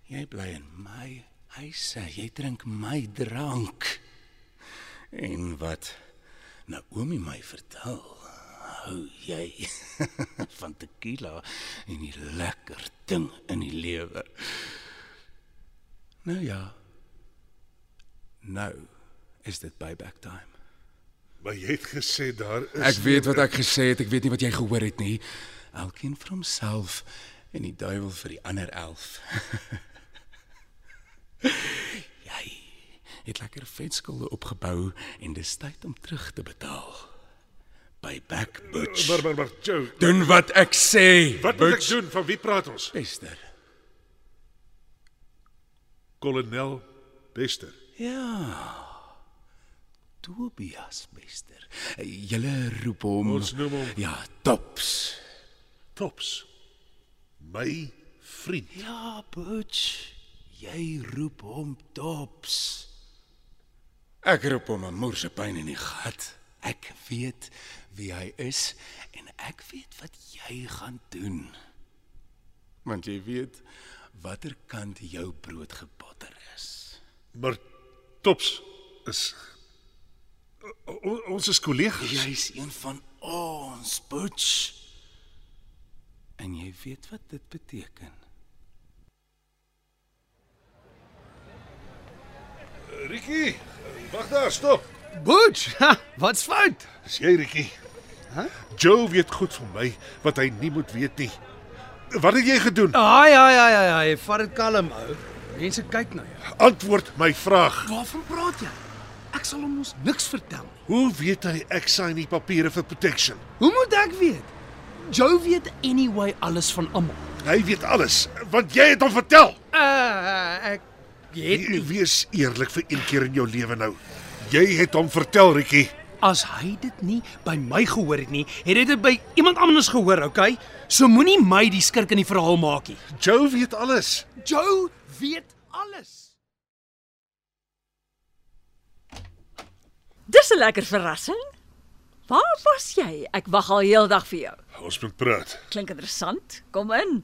Speaker 7: Jy bly in my huise, jy drink my drank. En wat Naomi my vertel, hou jy van tequila en die lekker ding in die lewe. Nou ja. Nou is dit buyback time.
Speaker 2: Maar jy het gesê daar is
Speaker 7: Ek weet wat ek gesê het, ek weet nie wat jy gehoor het nie. Elkeen vir homself en die duiwel vir die ander 11. jy het lekker vetskulde opgebou en dis tyd om terug te betaal. By back butch.
Speaker 2: Maar maar maar Joe,
Speaker 7: Doen wat ek sê.
Speaker 2: wat moet ek doen? Van wie praat ons?
Speaker 7: Bester. Nou.
Speaker 2: Kolonel Bester.
Speaker 7: Ja. Tobias Bester. Julle roep hom
Speaker 2: Ons noem hom-
Speaker 7: Ja, Tops.
Speaker 2: Tops. My vriend.
Speaker 7: Ja, Butch. Jy roep hom Tops. Ek roep hom 'n moerse pyn in die gat. Ek weet wie hy is en ek weet wat jy gaan doen. Want jy weet watter kant jou brood gebotter is.
Speaker 2: Maar Tops is o- o- ons is kollegas.
Speaker 7: Jy's een van ons, Butch. En jy weet wat dit beteken.
Speaker 2: Eh, Rikkie, wag daar, stop.
Speaker 3: Butch, ha, wat's fout?
Speaker 2: Dis jy, Rikkie. Hæ? Joe weet goed van my wat hy nie moet weet nie. Wat het jy gedoen?
Speaker 3: Haai, haai, haai, haai, haai, vat dit kalm ou. Mense kyk na jou.
Speaker 2: Antwoord my vraag.
Speaker 3: Waarvan praat jy? Ek sal hom ons niks vertel nie.
Speaker 2: Hoe weet hy ek sign die papiere vir protection?
Speaker 3: Hoe moet ek weet? Joe weet anyway alles van almal.
Speaker 2: Hy weet alles want jy het hom vertel.
Speaker 3: Uh ek het
Speaker 2: Jy
Speaker 3: nie
Speaker 2: wees eerlik vir een keer in jou lewe nou. Jy het hom vertel, Rikkie.
Speaker 3: as hy dit nie by my gehoor het nie, het hy dit by iemand anders gehoor, okay? So moenie my die skurk in die verhaal maak nie.
Speaker 2: Joe weet alles.
Speaker 3: Joe weet alles.
Speaker 6: Dis 'n lekker verrassing. Waar was jy? Ek wag al heeldag vir jou.
Speaker 2: Ons moet praat.
Speaker 6: Klink interessant. Kom in.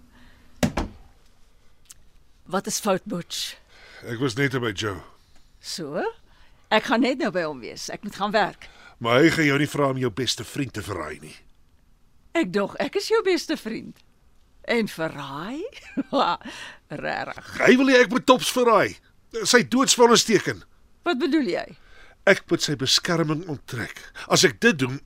Speaker 6: Wat is fout, Butch?
Speaker 2: Ek was net by Joe,
Speaker 6: So? Ek gaan net nou by hom wees. Ek moet gaan werk.
Speaker 2: maar hy gaan jou nie vra om jou beste vriend te verraai nie.
Speaker 6: Ek dog ek is jou beste vriend. En verraai? Regtig.
Speaker 2: Hy wil hê ek moet tops verraai. Sy doodsvonnis teken.
Speaker 6: Wat bedoel jy?
Speaker 2: Ek moet sy beskerming onttrek. As ek dit doen,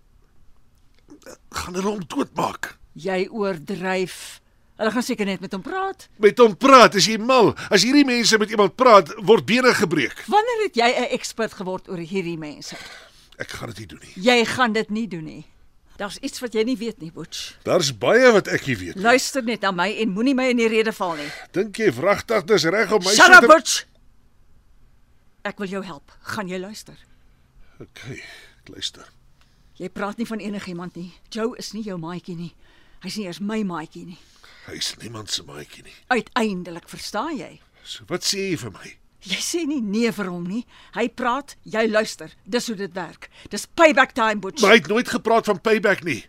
Speaker 2: gaan hulle hom doodmaak.
Speaker 6: Jy oordryf. Hulle gaan seker net met hom praat.
Speaker 2: Met hom praat, is jy mal? As hierdie mense met iemand praat, word bene gebreek.
Speaker 6: Wanneer het jy 'n ekspert geword oor hierdie mense?
Speaker 2: Ek gaan dit nie doen nie.
Speaker 6: Jy gaan dit nie doen nie. Daar's iets wat jy nie weet nie, Butch.
Speaker 2: Daar's baie wat ek nie weet.
Speaker 6: Luister net na my en moenie my in die rede val nie.
Speaker 2: Dink jy wragtig dis reg om my so
Speaker 6: Shut up,
Speaker 2: te
Speaker 6: Butch. Ek wil jou help. Gaan jy luister?
Speaker 2: Okay, ek luister.
Speaker 6: Jy praat nie van enigiemand nie. Joe is nie jou maatjie nie. Hy's nie eers my maatjie nie.
Speaker 2: Hy's niemand se maatjie nie.
Speaker 6: Uiteindelik verstaan jy.
Speaker 2: So wat sê jy vir my?
Speaker 6: Jy sê nie nee vir hom nie. Hy praat, jy luister. Dis hoe dit werk. Dis payback time, Butch.
Speaker 2: Maar hy het nooit gepraat van payback nie.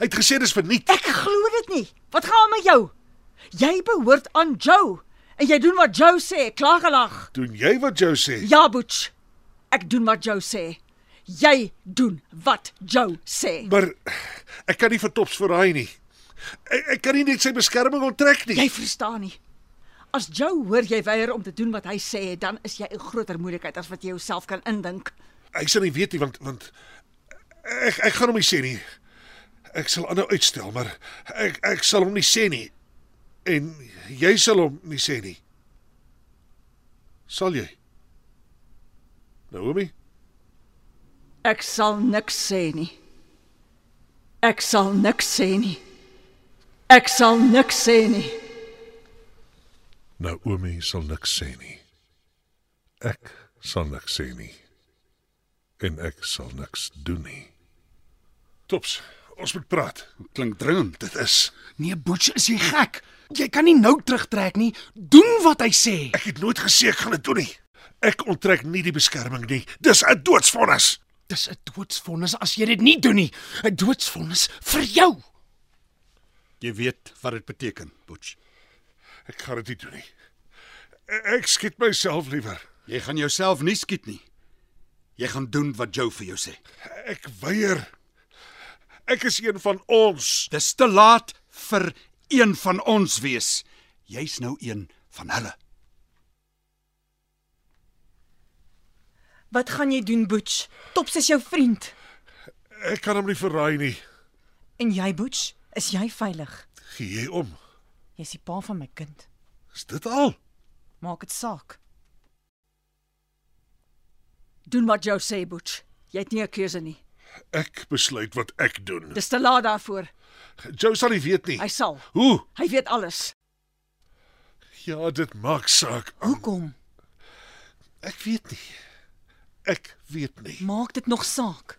Speaker 2: Hy het gesê dis verniet.
Speaker 6: Ek glo dit nie. Wat gaan aan met jou? Jy behoort aan Joe en jy doen wat Joe sê. Klaargelag.
Speaker 2: Doen jy wat Joe sê?
Speaker 6: Ja, Butch. Ek doen wat Joe sê. Jy doen wat Joe sê.
Speaker 2: Maar ek kan nie vir tops verraai nie. Ek, ek kan nie net sy beskerming onttrek nie.
Speaker 6: Jy verstaan nie. As Joe hoor jy weier om te doen wat hy sê, dan is jy in groter moeilikheid as wat jy jouself kan indink.
Speaker 2: Hy sal nie weet nie want want ek ek gaan hom nie sê nie. Ek sal aanhou uitstel, maar ek ek sal hom nie sê nie. En jy sal hom nie sê nie. Sal jy? Naomi,
Speaker 6: Ek sal niks sê nie. Ek sal niks sê nie. Ek sal niks sê nie.
Speaker 2: Naomi sal niks sê nie. Ek sal niks sê nie. En ek sal niks doen nie. Tops, ons moet praat.
Speaker 4: Klink dringend.
Speaker 2: Dit is
Speaker 3: Nee, Butch, is jy gek? Jy kan nie nou terugtrek nie. Doen wat hy sê.
Speaker 2: Ek het nooit gesê ek gaan dit doen nie. Ek onttrek nie die beskerming nie. Dis 'n doodsvonnis.
Speaker 3: Dis 'n doodsvonnis as jy dit nie doen nie. 'n Doodsvonnis vir jou.
Speaker 4: Jy weet wat dit beteken, Butch.
Speaker 2: Ek gaan dit nie doen nie. E- Ek skiet myself liewer.
Speaker 4: Jy gaan jouself nie skiet nie. Jy gaan doen wat Joe vir jou sê.
Speaker 2: Ek weier. Ek is een van ons.
Speaker 4: Dis te laat vir een van ons wees. Jy's nou een van hulle.
Speaker 9: Wat gaan jy doen, Butch? Tops is jou vriend.
Speaker 2: Ek kan hom nie verraai nie.
Speaker 9: En jy, Butch, is jy veilig?
Speaker 2: Gee jy om?
Speaker 9: Jy's die pa van my kind.
Speaker 2: Is dit al?
Speaker 9: Maak dit saak.
Speaker 6: Doen wat Joe sê, Butch. Jy het nie 'n keuse nie.
Speaker 2: Ek besluit wat ek doen.
Speaker 6: Dis te laat daarvoor.
Speaker 2: Joe sal nie weet nie.
Speaker 6: Hy sal.
Speaker 2: Hoe?
Speaker 6: Hy weet alles.
Speaker 2: Ja, dit maak saak.
Speaker 9: Hoekom?
Speaker 2: Ek weet nie. Ek weet nie.
Speaker 8: Maak dit nog saak.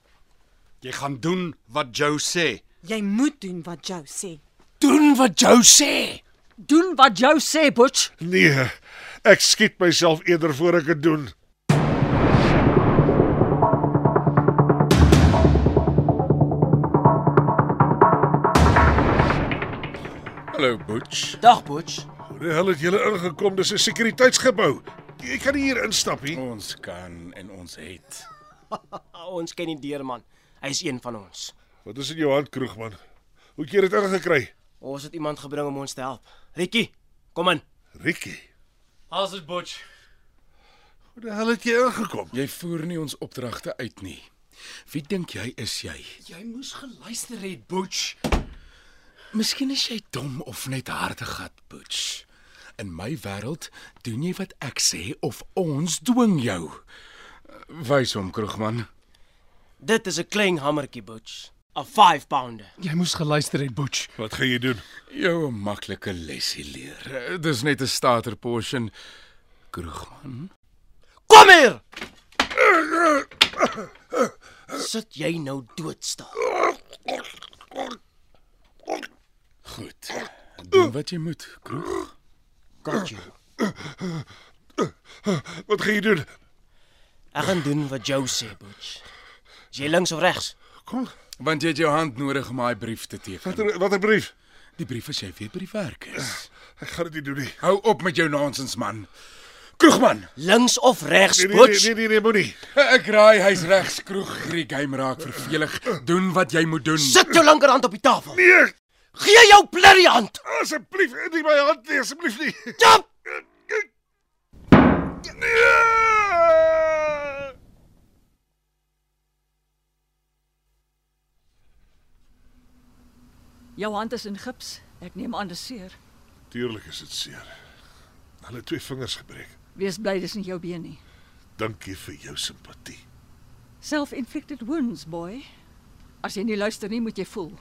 Speaker 4: Jy gaan doen wat Joe sê.
Speaker 8: Jy moet doen wat Joe sê.
Speaker 7: Doen wat jou sê.
Speaker 6: Doen wat jou sê, Butch.
Speaker 2: Nee, ek skiet myself eerder voor ek dit doen.
Speaker 7: Hallo Butch.
Speaker 5: Dag Butch.
Speaker 2: Hoe die hel het julle ingekom? Dis 'n sekuriteitsgebou. Jy kan nie hier instap nie.
Speaker 7: Ons kan en ons het.
Speaker 5: Ons ken die deurman. Hy is een van ons.
Speaker 2: Wat is in jou hand, Kroegman? Hoe het jy dit ingekry?
Speaker 5: Ons het iemand gebring om ons te help. Rikkie, kom in.
Speaker 2: Rikkie,
Speaker 10: Haas dit Butch.
Speaker 2: hoe die hel het jy ingekom?
Speaker 7: Jy voer nie ons opdragte uit nie. Wie dink jy is jy?
Speaker 10: Jy moes geluister het, Butch.
Speaker 7: Miskien is jy dom of net hardegat, Butch. In my wêreld doen jy wat ek sê of ons dwing jou. Wys hom, Kroegman.
Speaker 5: Dit is 'n klein hammertjie Butch. 'n 5 pounder.
Speaker 10: Jy moes geluister het, Butch.
Speaker 2: Wat gaan jy doen?
Speaker 7: Jou 'n maklike lesie leer. Eh, Dis net 'n starter portion. Kroegman.
Speaker 5: Kom hier. Sit jy nou doodstil.
Speaker 7: Goed. Doen wat jy moet, Kroeg.
Speaker 5: Got you.
Speaker 2: Wat gaan jy doen?
Speaker 5: Ek gaan doen wat Joe sê, Butch. Is jy links of regs?
Speaker 2: Kom,
Speaker 7: Want jy het jou hand nodig om daai brief te teken.
Speaker 2: watter watter brief?
Speaker 7: Die brief as jy weet by die werk is.
Speaker 2: Ek gaan dit nie doen nie.
Speaker 7: Hou op met jou nonsens, man. Kroegman.
Speaker 5: Links of regs,
Speaker 2: Nee nee nee,
Speaker 5: Butch?
Speaker 2: nee, nee, nee moenie.
Speaker 7: Ek raai hy's regs kroeg hierdie game raak vervelig. Doen wat jy moet doen.
Speaker 5: Sit jou linkerhand op die tafel.
Speaker 2: Nee,
Speaker 5: Gee jou blerrie hand.
Speaker 2: asseblief, nie my hand nie, asseblief nie.
Speaker 5: Jump.
Speaker 2: Nee!
Speaker 6: Jou hand is in gips. Ek neem aan dis seer.
Speaker 2: Tuurlik is dit seer. Hulle het twee vingers gebreek.
Speaker 6: Wees bly dis nie jou been nie.
Speaker 2: Dankie vir jou simpatie.
Speaker 6: Self-inflicted wounds, boy. As jy nie luister nie, moet jy voel.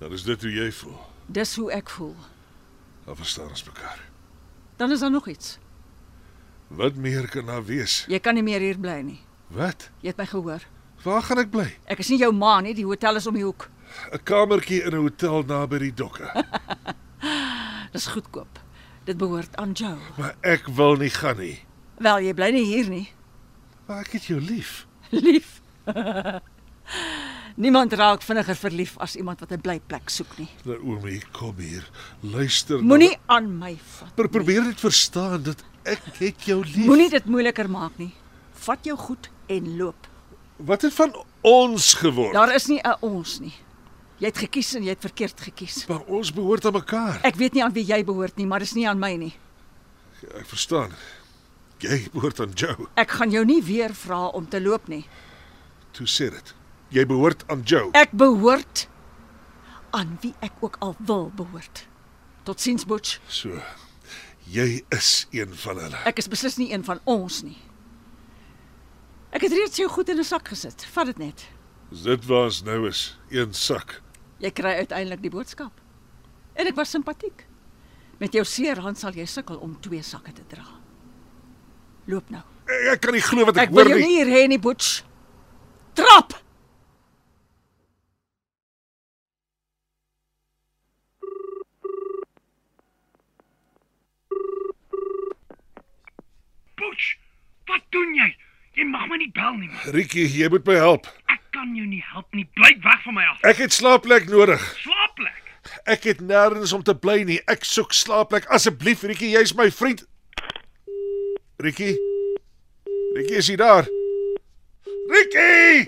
Speaker 2: Dan is dit hoe jy voel.
Speaker 6: Dis hoe ek voel.
Speaker 2: Dan verstaan ons mekaar.
Speaker 6: Dan is daar nog iets.
Speaker 2: Wat meer kan daar wees?
Speaker 6: Jy kan nie meer hier bly nie.
Speaker 2: Wat?
Speaker 6: Jy het my gehoor.
Speaker 2: Waar gaan ek bly?
Speaker 6: Ek is nie jou ma nie, die hotel is om die hoek.
Speaker 2: 'n Kamertjie in 'n hotel naby die dokke.
Speaker 6: Dis goedkoop. Dit behoort aan jou.
Speaker 2: Maar ek wil nie gaan nie.
Speaker 6: Wel, jy bly nie hier nie.
Speaker 2: Maar ek het jou lief.
Speaker 6: Lief. Niemand raak vinniger verlief as iemand wat 'n blyplek soek nie.
Speaker 2: Naomi, kom Nou, hier. Luister. na-
Speaker 6: Moenie aan my vat.
Speaker 2: Pro probeer net verstaan dat ek het jou lief.
Speaker 6: Moenie dit moeiliker maak nie. Vat jou goed en loop.
Speaker 2: Wat het van ons geword?
Speaker 6: Daar is nie 'n ons nie. Jy het gekies en jy het verkeerd gekies.
Speaker 2: Maar ons behoort aan mekaar.
Speaker 6: Ek weet nie aan wie jy behoort nie, maar dis nie aan my nie.
Speaker 2: Ek verstaan. Jy behoort aan Joe.
Speaker 6: Ek gaan jou nie weer vra om te loop nie.
Speaker 2: Toe sê dit. Jy behoort aan Joe.
Speaker 6: Ek behoort aan wie ek ook al wil behoort. Totsiens, Butch.
Speaker 2: So. Jy is een van hulle.
Speaker 6: Ek is beslis nie een van ons nie. Ek het reeds jou goed in 'n sak gesit. Vat dit net.
Speaker 2: Is dit waar ons nou is? Een sak.
Speaker 6: Jy kry uiteindelik die boodskap. En ek was simpatiek. Met jou seer hand sal jy sukkel om twee sakke te dra. Loop nou.
Speaker 2: Ek, ek kan nie glo wat ek,
Speaker 6: Ek wil
Speaker 2: hoor
Speaker 6: jou nie hier hê nie, Butch. Trap!
Speaker 11: Butch, wat doen jy? Jy mag my nie bel nie. Man.
Speaker 2: Rietjie, jy moet my help.
Speaker 11: Ek kan jou nie help nie. Bly weg van my af.
Speaker 2: Ek het slaapplek nodig.
Speaker 11: Slaapplek.
Speaker 2: Ek het nêrens om te bly nie. Ek soek slaapplek. Asseblief, Rietjie, jy's my vriend. Rietjie. Rietjie is hier daar. Rietjie!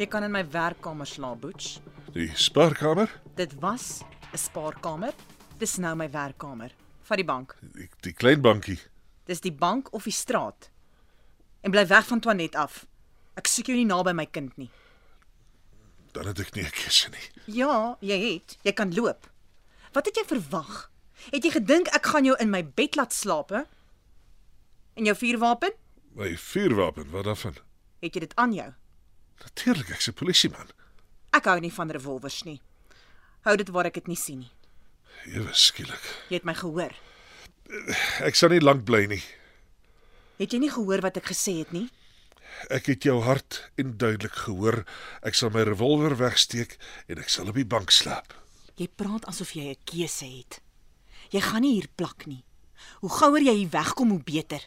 Speaker 8: Jy kan in my werkkamer slaap, Butch.
Speaker 2: Die spaarkamer?
Speaker 8: Dit was 'n spaarkamer. Dis nou my werkkamer. Vat die bank.
Speaker 2: Die, die klein bankie.
Speaker 8: Dis die bank of die straat. En bly weg van Toinet af. Ek soek jou nie naby my kind nie.
Speaker 2: Dan het ek nie 'n keuse nie.
Speaker 8: Ja, jy het. Jy kan loop. Wat het jy verwag? Het jy gedink ek gaan jou in my bed laat slaap, hè? En jou vuurwapen?
Speaker 2: My vuurwapen, wat daarvan?
Speaker 8: Het jy dit aan jou?
Speaker 2: Natuurlik, ek's 'n polisieman.
Speaker 8: Ek hou nie van revolvers nie. Hou dit waar ek dit nie sien nie.
Speaker 2: Ewe skielik.
Speaker 9: Jy het my gehoor.
Speaker 2: Ek sal nie lank bly nie.
Speaker 9: Het jy nie gehoor wat ek gesê het nie?
Speaker 2: Ek het jou hard en duidelik gehoor. Ek sal my revolver wegsteek en ek sal op die bank slaap.
Speaker 9: Jy praat asof jy 'n keuse het. Jy gaan nie hier plak nie. Hoe gouer jy hier wegkom, hoe beter.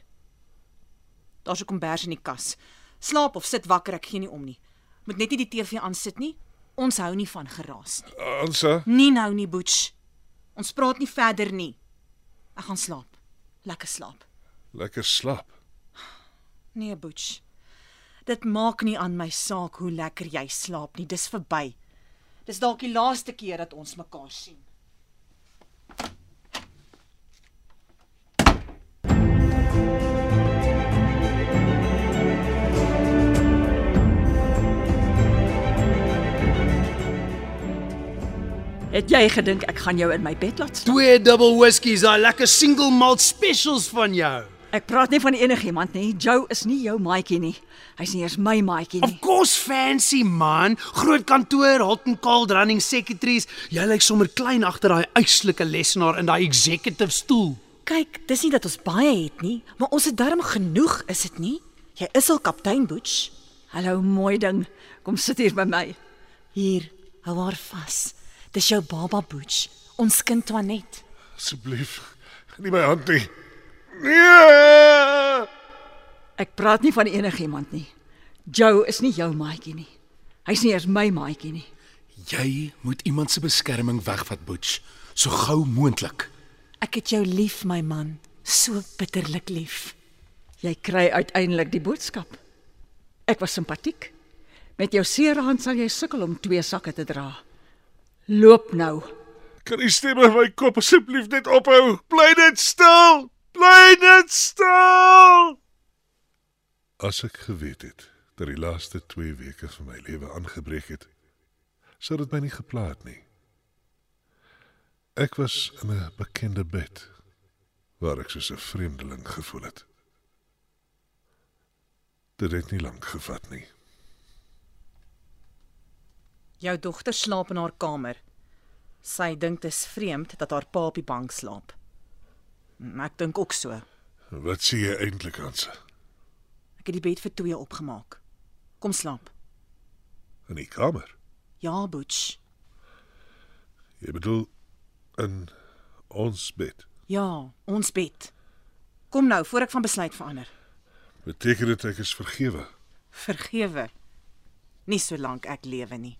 Speaker 9: Daar's 'n kombers in die kas. Slaap of sit wakker, ek gee nie om nie. Moet net nie die TV aan sit nie. Ons hou nie van geraas nie.
Speaker 2: Ansa,
Speaker 9: Nie nou nie, Butch. Ons praat nie verder nie. Ek gaan slaap. Lekker slaap.
Speaker 2: lekker slaap.
Speaker 9: Nee, Butch. Dit maak nie aan my saak hoe lekker jy slaap nie. Dis verby. Dis dalk die laaste keer dat ons mekaar sien.
Speaker 6: Het jy gedink ek gaan jou in my bed laat?
Speaker 3: Twee dubbel whiskies, daai lekker single malt specials van jou.
Speaker 6: Ek praat nie van enigiemand nie. Joe is nie jou maatjie nie. Hy's nie eers my maatjie nie.
Speaker 3: Kos fancy man, groot kantoor, hot and cold running secretaries. Jy lyk sommer klein agter daai uitslike lesenaar in daai executive stoel.
Speaker 9: Kyk, dis nie dat ons baie het nie, maar ons het darm genoeg, is dit nie? Jy is al kaptein Butch.
Speaker 6: Hallo mooi ding. Kom sit hier by my.
Speaker 9: Hier, hou haar vas. Dis jou baba Butch, ons kind Toinet.
Speaker 2: Asseblief, nie my hand nie. Nee!
Speaker 6: Ek praat nie van enigiemand nie. Joe is nie jou maatjie nie. Hy's nie eers my maatjie nie.
Speaker 7: Jy moet iemand se beskerming wegvat, Butch, so gou moontlik.
Speaker 9: Ek het jou lief, my man, so bitterlik lief.
Speaker 6: Jy kry uiteindelik die boodskap. Ek was simpatiek. Met jou seerhand sal jy sukkel om twee sakke te dra. Loop nou.
Speaker 2: Kan u stem in my kop asseblief net ophou? Bly net stil. Bly net stil. As ek geweet het dat die laaste 2 weke van my lewe aangebreek het, sou dit my nie geplaag nie. Ek was in 'n bekende bed waar ek soos 'n vreemdeling gevoel het. Dit het nie lank gevat nie.
Speaker 9: Jou dogter slaap in haar kamer. Sy dink dit is vreemd dat haar pa op die bank slaap. Mm, Ek dink ook so.
Speaker 2: Wat sê jy eintlik aan se?
Speaker 9: Ek het die bed vir twee opgemaak. Kom slaap.
Speaker 2: In die kamer.
Speaker 9: Ja, Butch.
Speaker 2: Jy bedoel in ons bed.
Speaker 9: Ja, ons bed. Kom nou voor ek van besluit verander.
Speaker 2: Beteken dit ek is vergewe?
Speaker 9: Vergewe. Nie solank ek lewe nie,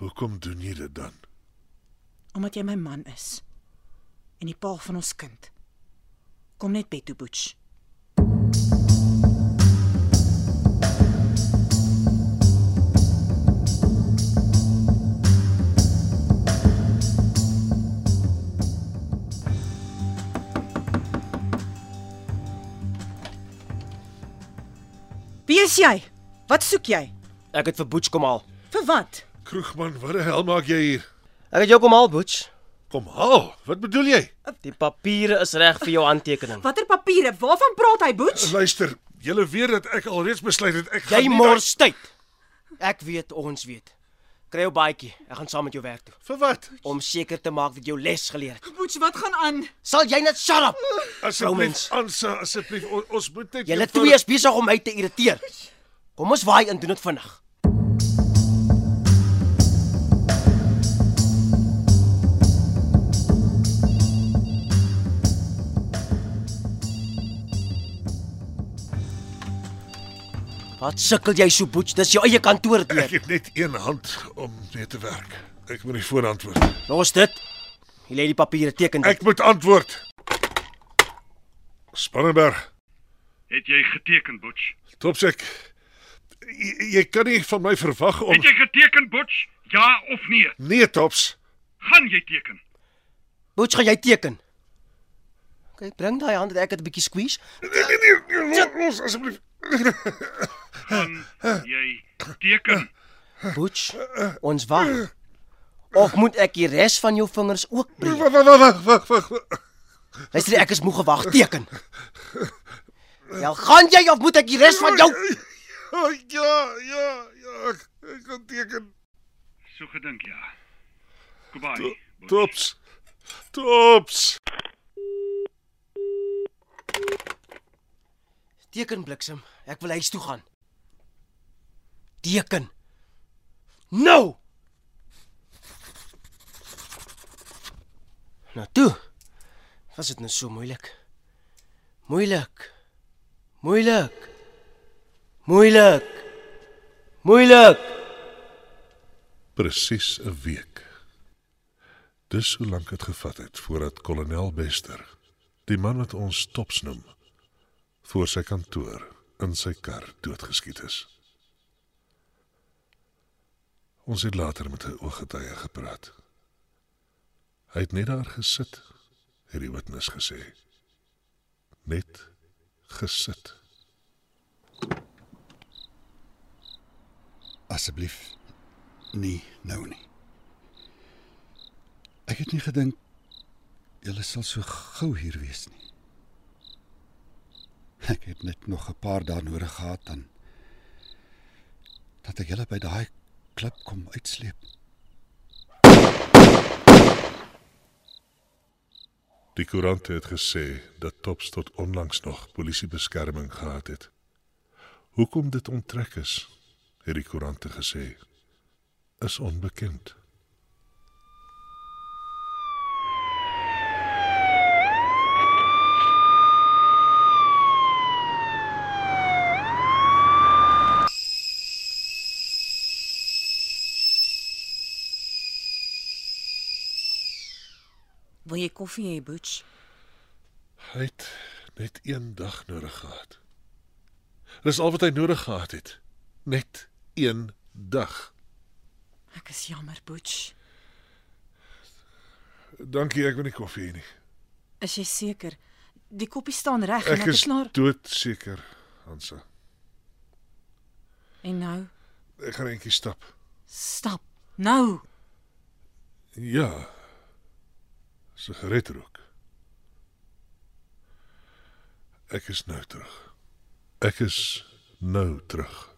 Speaker 2: Hoekom doen jy dit dan?
Speaker 9: omdat jy my man is en die pa van ons kind. Kom net bed toe, Butch. Wie is jy? Wat soek jy?
Speaker 2: nee.
Speaker 5: Ek het vir Butch kom haal.
Speaker 9: Vir wat?
Speaker 2: Kroegman, wat die hel maak jy hier?
Speaker 5: Ek het jou kom haal, Butch.
Speaker 2: Kom haal. Wat bedoel jy?
Speaker 5: Die papiere is reg vir jou handtekening.
Speaker 9: Watter papiere? Waarvan praat hy, Butch?
Speaker 2: Luister, julle weet dat ek alreeds besluit het ek
Speaker 5: Jy
Speaker 2: nie
Speaker 5: mors tyd. Ek weet, ons weet. Kry jou baadjie. Ek gaan saam met jou werk toe.
Speaker 2: Vir wat?
Speaker 5: Om seker te maak dat jou les geleer het.
Speaker 9: Butch, wat gaan aan?
Speaker 5: Sal jy net shut up?
Speaker 2: daai- Asseblief, Ansa, asseblief, on, ons moet net
Speaker 5: Julle
Speaker 2: eenvoudig-
Speaker 5: twee is besig om my te irriteer. Kom ons waai in doen dit vinnig. Wat sukkel jy so boets? Dis jou eie kantoor
Speaker 2: Ek
Speaker 5: deur.
Speaker 2: het net een hand om mee te werk. Ek moet die voor antwoord.
Speaker 5: Los dit. Jy lê die papiere teken dit.
Speaker 2: Ek moet antwoord. Spannenberg,
Speaker 11: Het jy geteken, Butch?
Speaker 2: Topsek. Jy, jy kan nie van my verwag om
Speaker 11: Het jy geteken, Butch? Ja of nee?
Speaker 2: Nee, Tops.
Speaker 11: Gaan jy teken?
Speaker 5: Boets gaan jy teken. Okay, bring daai hand dat ek dit 'n bietjie squeeze.
Speaker 2: Nee, nee, nee, los asseblief.
Speaker 11: Gaan jy teken?
Speaker 5: Boets, ons wag. Of moet ek die res van jou vingers ook breek?
Speaker 2: Wag, wag, wag, wag, wag, wag.
Speaker 5: Luister, ek is moeg gewag teken. Wel, gaan jy of moet ek die res van jou
Speaker 2: Oh, ja, ja, ja, ek, ek kan teken.
Speaker 11: So gedink ja. Goodbye.
Speaker 2: Tops. Tops.
Speaker 5: Teken bliksem. Ek wil huis toe gaan. Teken. Nou. Nou toe. Was dit nou so moeilik? Moeilik. Moeilik. Moeilik. Moeilik.
Speaker 2: Presies 'n week. Dis hoe lank dit gevat het voordat kolonel Bester, die man wat ons tops noem, voor sy kantoor in sy kar doodgeskiet is. Ons het later met 'n ooggetuie gepraat. Hy het net daar gesit, het die witnes gesê. Net gesit.
Speaker 4: Asseblief. Nee, nou nie. Ek het nie gedink julle sal so gou hier wees nie. Ek het net nog 'n paar dae nodig gehad dan dat ek julle by daai klip kom uitsleep.
Speaker 2: Die koerant het gesê dat Tops tot onlangs nog polisiebeskerming gehad het. Hoekom dit onttrek is, het die koerante gesê, is onbekend.
Speaker 8: Wil jy koffie hê, Butch?
Speaker 2: Hy het net een dag nodig gehad. Dis al wat hy nodig gehad het. Net een dag.
Speaker 8: Ek is jammer, Butch.
Speaker 2: Dankie, ek wil nie koffie hê nie.
Speaker 8: Is jy seker? Die koppie staan reg en
Speaker 2: Ek
Speaker 8: ek
Speaker 2: is
Speaker 8: is klaar.
Speaker 2: doodseker, Hansa.
Speaker 8: En nou,
Speaker 2: Ek gaan eentjie stap.
Speaker 8: stap. Nou.
Speaker 2: Ja. Sigaretrook. Ek is nou terug. Ek is nou terug.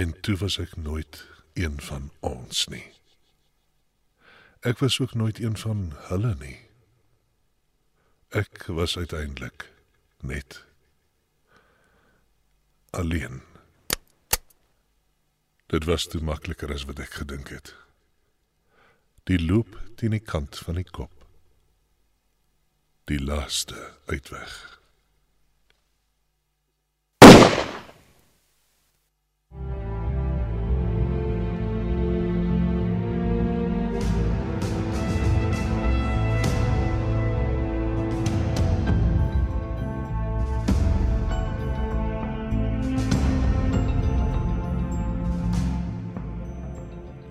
Speaker 2: En toe was ek nooit een van ons nie. Ek was ook nooit een van hulle nie. Ek was uiteindelik net alleen. Dit was toe makliker as wat ek gedink het. Die loop teen die kant van die kop. Die laaste uitweg.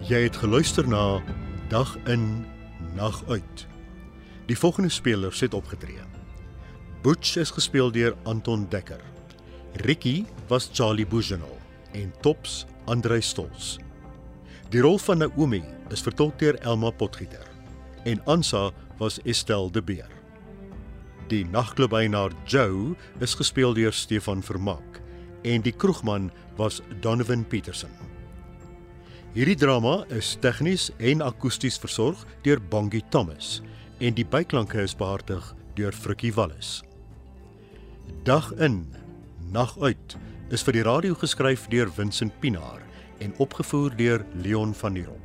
Speaker 1: Jy het geluister na Dag in Nag uit. Die volgende spelers het opgetree. Butch is gespeel deur Anton Dekker. Ricky was Charlie Bougenal en Tops Andrei Stols. Die rol van Naomi is vertolk deur Elma Potgieter en Ansa was Estelle De Beer. Die nagklubeienaar Joe is gespeel deur Stefan Vermaak en die kroegman was Donovan Petersen. Hierdie drama is tegnies en akoesties versorg deur Bongie Thomas en die byklanke is behartig deur Frikkie Wallis. Dag in, nag uit is vir die radio geskryf deur Vincent Pinaar en opgevoer deur Leon van Heerden.